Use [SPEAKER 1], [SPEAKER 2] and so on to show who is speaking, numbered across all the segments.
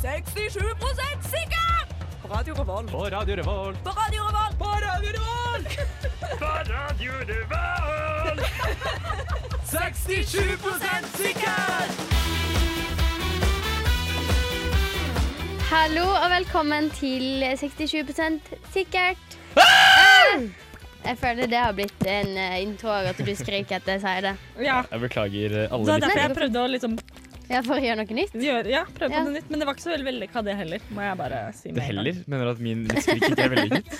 [SPEAKER 1] 67 sikker! På Radio Revolt.
[SPEAKER 2] På Radio Revolt.
[SPEAKER 1] På Radio Revolt.
[SPEAKER 2] På Radio Revolt! På Radio Revolt! 67 sikker!
[SPEAKER 3] Hallo og velkommen til 67 sikkert. Eh, Jeg føler det har blitt en eh, intro at du skriker at jeg sier det.
[SPEAKER 1] Ja.
[SPEAKER 2] Jeg beklager eh,
[SPEAKER 1] Det
[SPEAKER 2] alle
[SPEAKER 1] er derfor
[SPEAKER 2] lyttere.
[SPEAKER 1] jeg prøvde å liksom
[SPEAKER 3] Ja, for å gjøre noe nytt.
[SPEAKER 1] gjøre Ja, prøvde
[SPEAKER 3] Ja.
[SPEAKER 1] på noe nytt, men det var ikke så veldig vellykka, det heller. Må jeg bare si
[SPEAKER 2] Det
[SPEAKER 1] med en gang.
[SPEAKER 2] heller mener at min skrik ikke er vellykket.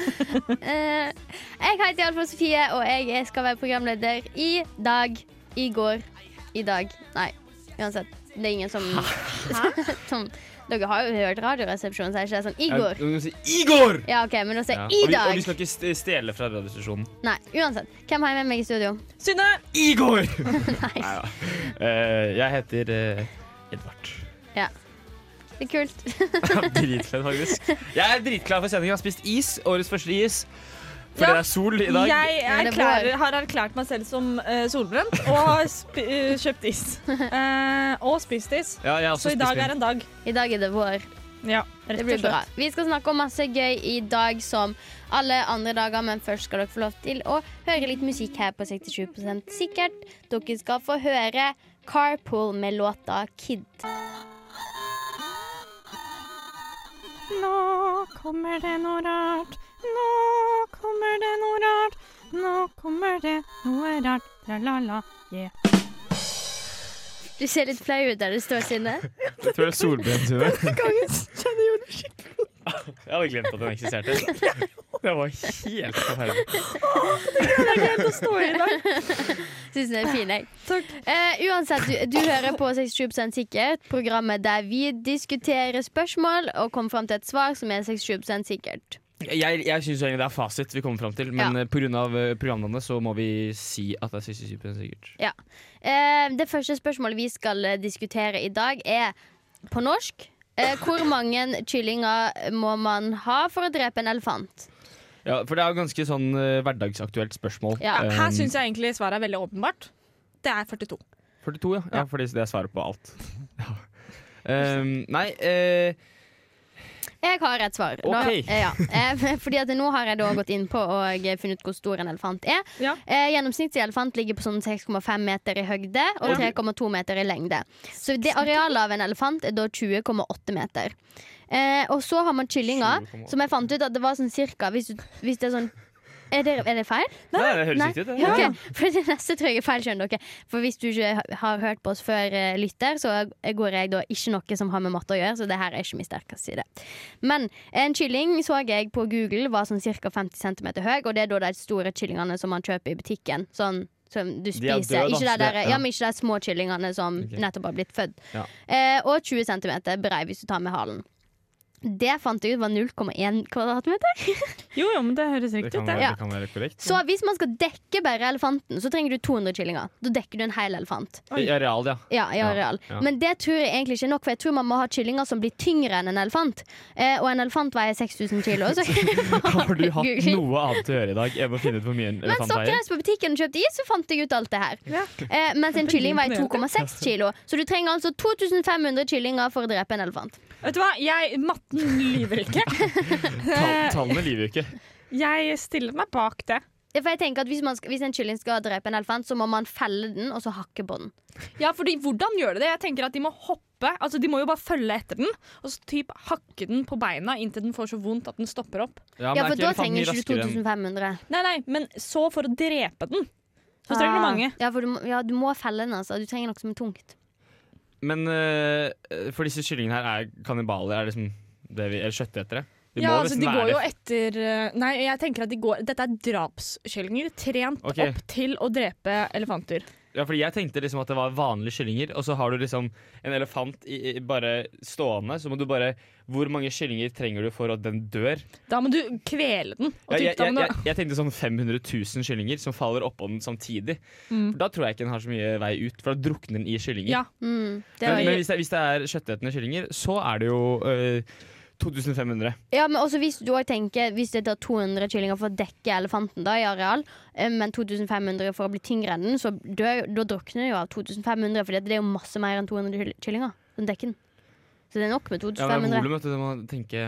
[SPEAKER 3] Eh, Jeg heter iallfall Sofie, og jeg er- skal være programleder i dag, i går, i dag. Nei, uansett. Det er ingen som, som Dere har jo hørt Radioresepsjonen, så jeg ikke det sånn i
[SPEAKER 2] Jeg-
[SPEAKER 3] går.
[SPEAKER 2] jeg må si Igor!
[SPEAKER 3] Ja, OK, men da sier
[SPEAKER 2] Ja. Og,
[SPEAKER 3] jeg i
[SPEAKER 2] vi, og vi
[SPEAKER 3] dag.
[SPEAKER 2] skal ikke st- stjele fra radiostasjonen.
[SPEAKER 3] Nei, uansett. Hvem har jeg med meg i studio?
[SPEAKER 1] Synne!
[SPEAKER 2] Igor!
[SPEAKER 3] Nei.
[SPEAKER 2] Neida. Eh, jeg heter eh, Edvard.
[SPEAKER 3] Det er kult.
[SPEAKER 2] Dritfett, faktisk. Jeg er dritklar for sending. Jeg har spist is. Årets første is. For
[SPEAKER 1] Ja,
[SPEAKER 2] det er sol i dag.
[SPEAKER 1] Jeg
[SPEAKER 3] Ja, det er
[SPEAKER 1] erklærer,
[SPEAKER 3] vår.
[SPEAKER 1] har erklært meg selv som eh, solbrent og har sp eh, kjøpt is. Eh, og spist is.
[SPEAKER 2] Ja, jeg har også
[SPEAKER 1] Så i
[SPEAKER 2] spist
[SPEAKER 1] dag
[SPEAKER 2] min.
[SPEAKER 1] er en dag.
[SPEAKER 3] I dag er det vår.
[SPEAKER 1] Ja, rett
[SPEAKER 3] Det
[SPEAKER 1] og
[SPEAKER 3] blir bra.
[SPEAKER 1] slett.
[SPEAKER 3] Vi skal snakke om masse gøy i dag som alle andre dager, men først skal dere få lov til å høre litt musikk her på 67 sikkert. Dere skal få høre Carpool med låta Kid.
[SPEAKER 4] Nå kommer det noe rart. Nå kommer det noe rart. Nå kommer det noe rart. Tra-la-la. Yeah.
[SPEAKER 3] Du ser litt flau ut der du står, Synne.
[SPEAKER 2] Jeg tror jeg er solbrent i dag.
[SPEAKER 1] Kjenner jo det skikkelig.
[SPEAKER 2] Jeg hadde glemt at den eksisterte. Det var helt forferdelig.
[SPEAKER 1] Det er greit å stå i i dag.
[SPEAKER 3] Syns den er fin, jeg.
[SPEAKER 1] Takk.
[SPEAKER 3] Eh, uansett, du, du hører på 67 sikkert, programmet der vi diskuterer spørsmål og kommer fram til et svar som er 67 sikkert.
[SPEAKER 2] Jeg, jeg syns egentlig det er fasit vi kommer fram til, men
[SPEAKER 3] Ja.
[SPEAKER 2] eh, på grunn av pga. programnavnet så må vi si at det er 67 sikkert.
[SPEAKER 3] Eh, det første spørsmålet vi skal eh, diskutere i dag, er på norsk. Eh, hvor mange kyllinger må man ha for å drepe en elefant?
[SPEAKER 2] Ja, for det er jo ganske sånn eh, hverdagsaktuelt spørsmål.
[SPEAKER 3] Ja,
[SPEAKER 2] Um,
[SPEAKER 1] Her syns jeg egentlig svaret er veldig åpenbart. Det er 42.
[SPEAKER 2] 42, ja. ja. Fordi det er svaret på alt. Ja. Um, nei eh,
[SPEAKER 3] Jeg har et svar. Nå,
[SPEAKER 2] Ok.
[SPEAKER 3] eh, ja. Eh, fordi at nå har jeg da gått inn på og funnet ut hvor stor en elefant er.
[SPEAKER 1] Ja.
[SPEAKER 3] Eh, gjennomsnittlig elefant ligger på sånn 6,5 meter i høyde og
[SPEAKER 2] Ja.
[SPEAKER 3] 3,2 meter i lengde. Så det arealet av en elefant er da 20,8 meter. Eh, og så har man kyllinger,
[SPEAKER 2] 20,8.
[SPEAKER 3] som jeg fant ut at det var sånn cirka Hvis, du- hvis det er sånn er det, er det feil?
[SPEAKER 2] Nei, det høres
[SPEAKER 3] Nei.
[SPEAKER 2] riktig ut. det.
[SPEAKER 3] Ja, ok. For det neste tror jeg er feil, skjønner dere. For hvis du ikke har hørt på oss før, eh, lytter, så går jeg da ikke noe som har med matte å gjøre, så det her er ikke min sterkeste side. Men en kylling så jeg på Google var sånn ca. 50 cm høy, og det er da de store kyllingene som man kjøper i butikken. Sånn som du
[SPEAKER 2] De er
[SPEAKER 3] spiser.
[SPEAKER 2] døde,
[SPEAKER 3] ikke, de
[SPEAKER 2] da, så det-
[SPEAKER 3] der,
[SPEAKER 2] ja.
[SPEAKER 3] ja, men ikke de små kyllingene som
[SPEAKER 2] Ok.
[SPEAKER 3] nettopp har blitt født.
[SPEAKER 2] Ja.
[SPEAKER 3] Eh, og 20 cm brei hvis du tar med halen. Det fant jeg ut var 0,1 kvadratmeter.
[SPEAKER 1] Jo, jo, men det høres
[SPEAKER 2] Det
[SPEAKER 1] riktig
[SPEAKER 2] kan
[SPEAKER 1] ut.
[SPEAKER 2] være,
[SPEAKER 3] Ja.
[SPEAKER 2] det kan være korrekt.
[SPEAKER 3] Så hvis man skal dekke bare elefanten, så trenger du 200 kyllinger. Da dekker du en hel elefant.
[SPEAKER 2] I areal, ja.
[SPEAKER 3] Ja, i
[SPEAKER 2] Ja,
[SPEAKER 3] areal.
[SPEAKER 2] ja.
[SPEAKER 3] Men det tror jeg egentlig ikke er nok, for jeg tror man må ha kyllinger som blir tyngre enn en elefant. Eh, og en elefant veier 6000 kilo. Så
[SPEAKER 2] Har du hatt
[SPEAKER 3] Google.
[SPEAKER 2] noe annet å gjøre i dag enn å finne ut hvor mye en
[SPEAKER 3] Mens
[SPEAKER 2] elefant
[SPEAKER 3] dere
[SPEAKER 2] veier?
[SPEAKER 3] reiste på butikken og kjøpte is, så fant jeg ut alt det her.
[SPEAKER 1] Ja.
[SPEAKER 3] Eh, mens en kylling veier
[SPEAKER 1] imponerende.
[SPEAKER 3] 2,6 kilo. Så du trenger altså 2500 kyllinger for å drepe en elefant.
[SPEAKER 1] Vet du hva, jeg, matten lyver ikke.
[SPEAKER 2] Tall- Tallene lyver jo ikke.
[SPEAKER 1] Jeg stiller meg bak det.
[SPEAKER 3] Ja, For jeg tenker at hvis, man skal, hvis en kylling skal drepe en elefant, så må man felle den, og så hakke på den.
[SPEAKER 1] Ja, fordi hvordan gjør de det? Jeg tenker at De må hoppe, altså de må jo bare følge etter den og så typ hakke den på beina inntil den får så vondt at den stopper opp.
[SPEAKER 2] men
[SPEAKER 3] Ja,
[SPEAKER 2] er
[SPEAKER 3] for
[SPEAKER 2] ikke
[SPEAKER 3] da
[SPEAKER 2] elefanten
[SPEAKER 3] trenger
[SPEAKER 2] mye
[SPEAKER 3] ikke du
[SPEAKER 2] raskere enn-
[SPEAKER 3] 2500.
[SPEAKER 1] Nei, nei, men så for å drepe den, så trenger du
[SPEAKER 3] Ah.
[SPEAKER 1] mange.
[SPEAKER 3] Ja, for du, må- ja, du må felle den, altså. Du trenger noe som er tungt.
[SPEAKER 2] Men eh, for disse kyllingene her er kannibaler, er liksom det vi, eller kjøttetere. De
[SPEAKER 1] ja,
[SPEAKER 2] må
[SPEAKER 1] altså
[SPEAKER 2] nesten
[SPEAKER 1] de
[SPEAKER 2] være
[SPEAKER 1] går
[SPEAKER 2] det.
[SPEAKER 1] jo etter eh, Nei, jeg tenker at de går Dette er drapskyllinger trent
[SPEAKER 2] Ok.
[SPEAKER 1] opp til å drepe elefanter.
[SPEAKER 2] Ja, fordi jeg tenkte liksom at det var vanlige kyllinger, og så har du liksom en elefant i, i, bare stående, så må du bare Hvor mange kyllinger trenger du for at den dør?
[SPEAKER 1] Da må du kvele den. Og
[SPEAKER 2] Jeg,
[SPEAKER 1] typ,
[SPEAKER 2] jeg,
[SPEAKER 1] da
[SPEAKER 2] jeg,
[SPEAKER 1] må du-
[SPEAKER 2] jeg, jeg tenkte sånn 500 000 kyllinger som faller oppå den samtidig.
[SPEAKER 1] Mm.
[SPEAKER 2] For da tror jeg ikke den har så mye vei ut, for da drukner den i kyllinger.
[SPEAKER 1] Ja,
[SPEAKER 3] Mm, det var
[SPEAKER 2] men men hvis, det, hvis det er kjøttetende kyllinger, så er det jo eh, 2500.
[SPEAKER 3] Ja, men også hvis du også tenker Hvis det tar 200 kyllinger for å dekke elefanten da, i areal, eh, men 2500 for å bli tyngre enn den, så dør, da drukner den jo av 2500, for det er jo masse mer enn 200 kyll- kyllinger. Den dekker den. Så det er nok med
[SPEAKER 2] Ja, men det
[SPEAKER 3] 2500.
[SPEAKER 2] er volum, vet du. Du må tenke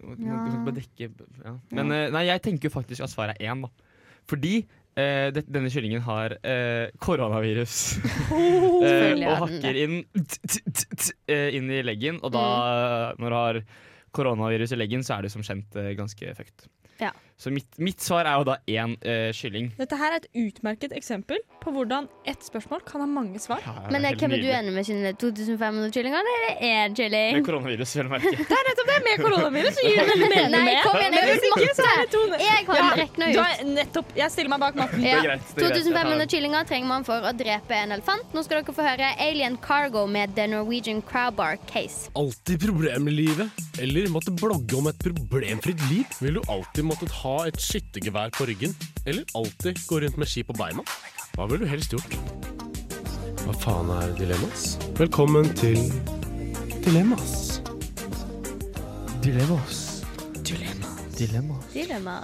[SPEAKER 2] du må, du
[SPEAKER 3] Ja.
[SPEAKER 2] må bare dekke ja. Men eh, nei, jeg tenker jo faktisk at svaret er én, da. Fordi eh, det, denne kyllingen har eh, koronavirus. Eh,
[SPEAKER 3] Selvfølgelig
[SPEAKER 2] og
[SPEAKER 3] har den
[SPEAKER 2] hakker inn, t, t, t, t, eh, inn i leggen, og da,
[SPEAKER 3] Mm.
[SPEAKER 2] når du har koronavirus i leggen, så er du som kjent eh, ganske fucked.
[SPEAKER 3] Ja.
[SPEAKER 2] Så mitt, mitt svar er jo da én eh, kylling.
[SPEAKER 1] Dette her er et utmerket eksempel på hvordan ett spørsmål kan ha mange svar.
[SPEAKER 2] Ja, det er
[SPEAKER 3] Men eh,
[SPEAKER 2] helt
[SPEAKER 3] hvem er du
[SPEAKER 2] nydelig.
[SPEAKER 3] enig med, Synne? 2500 kyllinger eller én kylling?
[SPEAKER 2] Med koronavirus, vil jeg merke.
[SPEAKER 1] Det er nettopp det! Med koronavirus så gir det veldig mening.
[SPEAKER 3] Nei,
[SPEAKER 1] med.
[SPEAKER 3] kom igjen, jeg
[SPEAKER 1] Hvis
[SPEAKER 3] vil
[SPEAKER 1] ikke, så
[SPEAKER 3] matte!
[SPEAKER 1] er det to
[SPEAKER 3] Jeg har regna
[SPEAKER 1] Du
[SPEAKER 3] ut.
[SPEAKER 1] har nettopp Jeg stiller meg bak matten.
[SPEAKER 2] Det
[SPEAKER 3] Ja.
[SPEAKER 2] er greit. det er greit, jeg tar
[SPEAKER 3] 2500
[SPEAKER 2] den.
[SPEAKER 3] kyllinger trenger man for å drepe en elefant. Nå skal dere få høre Alien Cargo med The Norwegian Crowbar Case.
[SPEAKER 5] alltid problemer i livet? Eller måtte blogge om et problemfritt liv? Vil du alltid måttet ha et skyttergevær på ryggen? Eller alltid gå rundt med ski på beina? Hva ville du helst gjort? Hva faen er dilemmas? Velkommen til Dilemmas.
[SPEAKER 2] Dilemmas. Dilemmas.
[SPEAKER 3] Dilemma.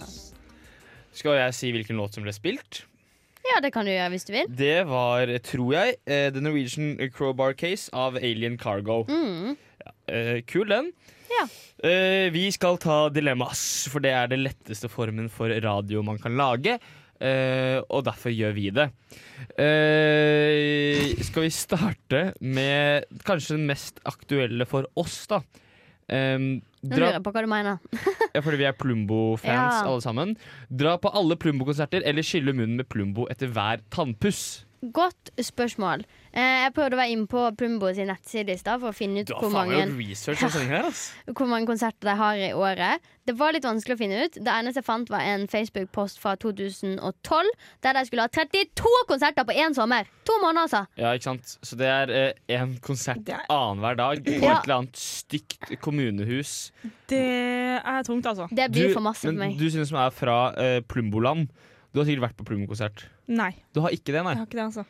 [SPEAKER 2] Skal jeg si hvilken låt som ble spilt?
[SPEAKER 3] Ja, det kan du gjøre hvis du vil.
[SPEAKER 2] Det var, tror jeg, eh, The Norwegian Crowbar Case av Alien Cargo.
[SPEAKER 3] Mm.
[SPEAKER 2] Eh, kul, den.
[SPEAKER 3] Ja.
[SPEAKER 2] Eh, vi skal ta dilemmas, for det er det letteste formen for radio man kan lage. eh, og derfor gjør vi det. Eh, skal vi starte med kanskje den mest aktuelle for oss, da. Um,
[SPEAKER 3] Nå lurer jeg på hva du mener.
[SPEAKER 2] ja, fordi vi er Plumbo-fans
[SPEAKER 3] Ja.
[SPEAKER 2] alle sammen. Dra på alle Plumbo-konserter eller skylle munnen med Plumbo etter hver tannpuss.
[SPEAKER 3] Godt spørsmål. Eh, jeg prøvde å være inne på Plumbo sin nettside i stad for å finne ut
[SPEAKER 2] Du har
[SPEAKER 3] hvor
[SPEAKER 2] faen meg
[SPEAKER 3] mange,
[SPEAKER 2] gjort research om sendingen her, ass.
[SPEAKER 3] hvor mange konserter de har i året. Det var litt vanskelig å finne ut. Det eneste jeg fant, var en Facebook-post fra 2012 der de skulle ha 32 konserter på én sommer. To måneder, altså.
[SPEAKER 2] Ja, ikke sant? Så det er én konsert
[SPEAKER 1] Det er-
[SPEAKER 2] annenhver dag på
[SPEAKER 3] Ja.
[SPEAKER 2] et eller annet stygt kommunehus.
[SPEAKER 1] Det er tungt, altså.
[SPEAKER 3] Det blir for masse for
[SPEAKER 2] men
[SPEAKER 3] meg.
[SPEAKER 2] du synes som er fra eh, Plumboland. Du har sikkert vært på Plumbo-konsert.
[SPEAKER 1] Nei,
[SPEAKER 2] Du har ikke det, nei?
[SPEAKER 1] jeg har ikke det, altså.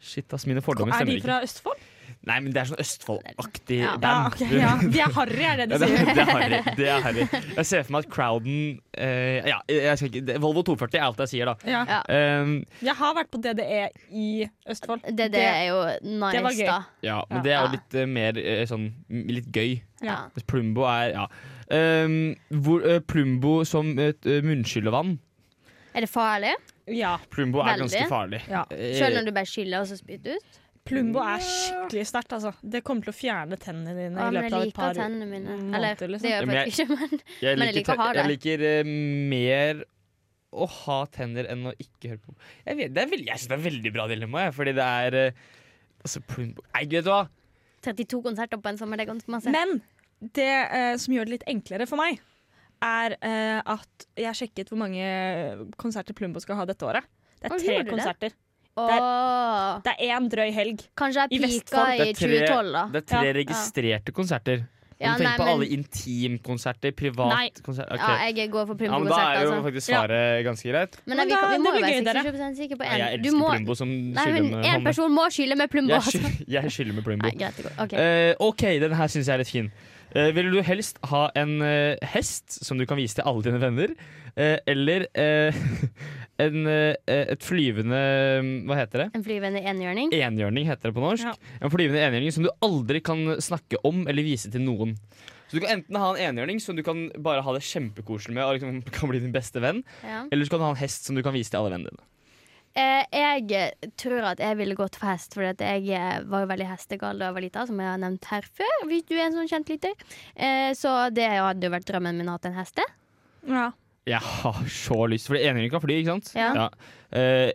[SPEAKER 2] Shit, ass, mine fordommer
[SPEAKER 1] Er de
[SPEAKER 2] stemmer
[SPEAKER 1] fra Østfold?
[SPEAKER 2] ikke. Nei, men det er sånn Østfold-aktig
[SPEAKER 3] Ja.
[SPEAKER 1] Ja,
[SPEAKER 2] band.
[SPEAKER 1] ok, ja. De er harry, er det de
[SPEAKER 2] Ja, det,
[SPEAKER 1] sier.
[SPEAKER 2] det er harry. Det er harry. Jeg ser for meg at crowden eh, Ja, jeg skal ikke, det, Volvo 240 er alt jeg sier, da.
[SPEAKER 1] Ja.
[SPEAKER 3] Ja.
[SPEAKER 2] Um,
[SPEAKER 1] Jeg har vært på DDE i Østfold.
[SPEAKER 3] Det, det
[SPEAKER 1] Det-
[SPEAKER 3] er jo
[SPEAKER 1] det var
[SPEAKER 3] nice,
[SPEAKER 1] gøy.
[SPEAKER 3] da.
[SPEAKER 2] ja, men
[SPEAKER 1] Ja.
[SPEAKER 2] det er jo
[SPEAKER 3] Ja.
[SPEAKER 2] litt eh, mer eh, sånn m- litt gøy.
[SPEAKER 3] Ja.
[SPEAKER 1] Ja.
[SPEAKER 2] Mens Plumbo er ja. Ehm, hvor, eh, Plumbo som et eh, munnskyllevann.
[SPEAKER 3] Er det farlig?
[SPEAKER 1] Ja.
[SPEAKER 2] Plumbo er
[SPEAKER 3] Veldig.
[SPEAKER 2] ganske farlig.
[SPEAKER 1] Ja.
[SPEAKER 2] Eh,
[SPEAKER 3] Selv når du bare skyller og så spytter ut?
[SPEAKER 1] Plumbo er skikkelig sterkt, altså. Det kommer til å fjerne tennene dine
[SPEAKER 3] Ja,
[SPEAKER 1] i
[SPEAKER 3] men jeg
[SPEAKER 1] løpet av et
[SPEAKER 3] liker
[SPEAKER 1] par
[SPEAKER 3] tennene mine.
[SPEAKER 1] måneder,
[SPEAKER 3] Eller,
[SPEAKER 1] liksom.
[SPEAKER 3] det gjør jeg
[SPEAKER 2] Ja, men
[SPEAKER 3] faktisk ikke, men
[SPEAKER 2] jeg
[SPEAKER 3] men jeg liker å ha
[SPEAKER 2] jeg
[SPEAKER 3] det.
[SPEAKER 2] liker eh, mer å ha tenner enn å ikke høre på Jeg, vet, det er veld, jeg syns det er veldig bra dilemma, jeg, fordi det er eh, Altså, Plumbo Nei, vet du hva!
[SPEAKER 3] 32 konserter på en sommer, det er ganske masse.
[SPEAKER 1] Men det eh, som gjør det litt enklere for meg, er eh, at jeg sjekket hvor mange konserter Plumbo skal ha dette året. Det
[SPEAKER 3] Å,
[SPEAKER 1] er tre
[SPEAKER 3] gjorde du det?
[SPEAKER 1] konserter.
[SPEAKER 3] Åh,
[SPEAKER 1] Det er én drøy helg. I
[SPEAKER 3] kanskje jeg pika
[SPEAKER 1] Vestfold.
[SPEAKER 3] i 2012, da.
[SPEAKER 2] det er tre
[SPEAKER 1] Ja.
[SPEAKER 2] registrerte konserter. Om
[SPEAKER 3] Ja,
[SPEAKER 2] du
[SPEAKER 3] nei,
[SPEAKER 2] tenker på alle
[SPEAKER 3] men-
[SPEAKER 2] intimkonserter,
[SPEAKER 1] Nei.
[SPEAKER 2] privatkonsert
[SPEAKER 3] Ja, jeg går for
[SPEAKER 2] ja, men Da er
[SPEAKER 3] Plumbo-konserter,
[SPEAKER 2] jo
[SPEAKER 3] altså.
[SPEAKER 2] faktisk
[SPEAKER 1] Ja.
[SPEAKER 2] svaret ganske greit.
[SPEAKER 3] Men,
[SPEAKER 1] Men
[SPEAKER 3] vi, kan-
[SPEAKER 1] da-
[SPEAKER 3] vi
[SPEAKER 1] det
[SPEAKER 3] må jo
[SPEAKER 1] blir
[SPEAKER 3] være
[SPEAKER 1] gøy, dere.
[SPEAKER 3] 67 sikre på
[SPEAKER 2] Nei, jeg
[SPEAKER 3] én. Du
[SPEAKER 2] elsker
[SPEAKER 3] må
[SPEAKER 2] Plumbo som
[SPEAKER 3] Nei,
[SPEAKER 2] skyller
[SPEAKER 3] men
[SPEAKER 2] med
[SPEAKER 3] én
[SPEAKER 2] hånda.
[SPEAKER 3] person må skylle med Plumbo.
[SPEAKER 2] Jeg,
[SPEAKER 3] altså.
[SPEAKER 2] skyller- jeg skyller med Plumbo.
[SPEAKER 3] Nei, greit, det går. OK.
[SPEAKER 2] Eh, OK, den her syns jeg er litt fin. Eh, Ville du helst ha en eh, hest som du kan vise til alle dine venner, eh, eller eh, en, eh, et flyvende Hva heter det?
[SPEAKER 3] En flyvende enhjørning.
[SPEAKER 2] Enhjørning heter det på norsk.
[SPEAKER 1] Ja.
[SPEAKER 2] En flyvende enhjørning som du aldri kan snakke om eller vise til noen. Så Du kan enten ha en enhjørning som du kan bare ha det kjempekoselig med og liksom kan bli din beste venn,
[SPEAKER 3] Ja.
[SPEAKER 2] eller så kan du ha en hest som du kan vise til alle vennene dine.
[SPEAKER 3] Eh, jeg tror at jeg ville gått for hest, Fordi at jeg eh, var jo veldig hestegal da jeg var lita, som jeg har nevnt her før. Hvis du er en sånn kjent lytter. Eh, så det hadde jo vært drømmen min å ha hatt en heste.
[SPEAKER 1] Ja.
[SPEAKER 2] Jeg har så lyst, for enhjørning kan fly, ikke sant?
[SPEAKER 3] Ja.
[SPEAKER 2] Eh,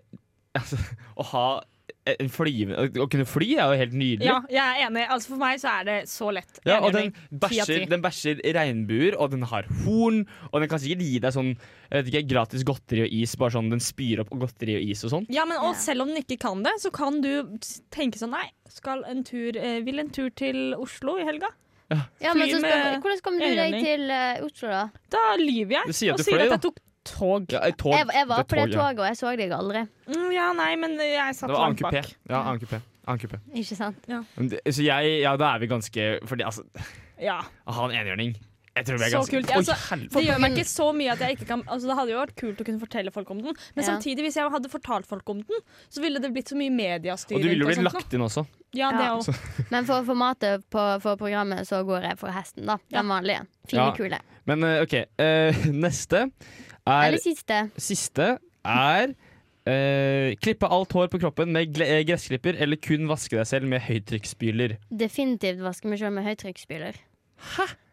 [SPEAKER 2] altså, å ha en flyvende Å kunne fly er jo helt nydelig.
[SPEAKER 1] ja, jeg er enig. Altså For meg så er det så lett.
[SPEAKER 2] Ja, og den
[SPEAKER 1] Enhjørning. Ti av
[SPEAKER 2] bæsjer,
[SPEAKER 1] ti.
[SPEAKER 2] den bæsjer regnbuer, og den har horn. Og den kan sikkert gi deg sånn jeg vet ikke, gratis godteri og is. Bare sånn, Den spyr opp godteri og is og sånn.
[SPEAKER 1] Ja, men
[SPEAKER 3] Ja.
[SPEAKER 1] og selv om den ikke kan det, så kan du s- tenke sånn Nei, skal en tur, eh, vil en tur til Oslo i helga?
[SPEAKER 3] Ja, men
[SPEAKER 1] Fly
[SPEAKER 3] så spør,
[SPEAKER 1] med
[SPEAKER 3] hvordan kom du deg
[SPEAKER 1] enhjørning.
[SPEAKER 3] til eh, Oslo, da?
[SPEAKER 1] Da lyver jeg
[SPEAKER 2] Du sier at
[SPEAKER 1] og
[SPEAKER 2] du
[SPEAKER 1] sier
[SPEAKER 2] fløy,
[SPEAKER 1] at
[SPEAKER 2] da.
[SPEAKER 1] jeg tok tog.
[SPEAKER 2] Ja, et tog.
[SPEAKER 3] Jeg, jeg var
[SPEAKER 2] Det er
[SPEAKER 3] på det
[SPEAKER 2] tog, ja.
[SPEAKER 3] toget, og jeg så deg aldri.
[SPEAKER 1] Mm, ja, nei, men jeg satt
[SPEAKER 2] Det var annen
[SPEAKER 1] langt
[SPEAKER 2] kupé.
[SPEAKER 1] bak.
[SPEAKER 2] Ja, annen kupé. Annen kupé.
[SPEAKER 3] Ikke sant?
[SPEAKER 2] Men det- Så jeg Ja, da er vi ganske Fordi altså,
[SPEAKER 1] Ja.
[SPEAKER 2] å ha en enhjørning Jeg tror vi er
[SPEAKER 1] Så
[SPEAKER 2] ganske
[SPEAKER 1] kult.
[SPEAKER 2] Oi,
[SPEAKER 1] Altså,
[SPEAKER 2] helvete.
[SPEAKER 1] Det gjør meg ikke så mye at jeg ikke kan Altså Det hadde jo vært kult å kunne fortelle folk om den, men
[SPEAKER 3] Ja.
[SPEAKER 1] samtidig, hvis jeg hadde fortalt folk om den, så ville det blitt så mye mediestyring.
[SPEAKER 2] Og du ville jo blitt
[SPEAKER 1] sånt nå.
[SPEAKER 2] lagt inn også.
[SPEAKER 1] Ja, det
[SPEAKER 3] Ja.
[SPEAKER 1] også.
[SPEAKER 3] Men for formatet på, for programmet så går jeg for hesten, da. Den vanlige. Fine,
[SPEAKER 2] Ja.
[SPEAKER 3] kule.
[SPEAKER 2] Men eh, OK. eh, neste er
[SPEAKER 3] Eller siste.
[SPEAKER 2] Siste er eh, klippe alt hår på kroppen med gle- eh, gressklipper, eller kun vaske deg selv med høytrykksspyler.
[SPEAKER 3] Definitivt vaske meg sjøl med høytrykksspyler.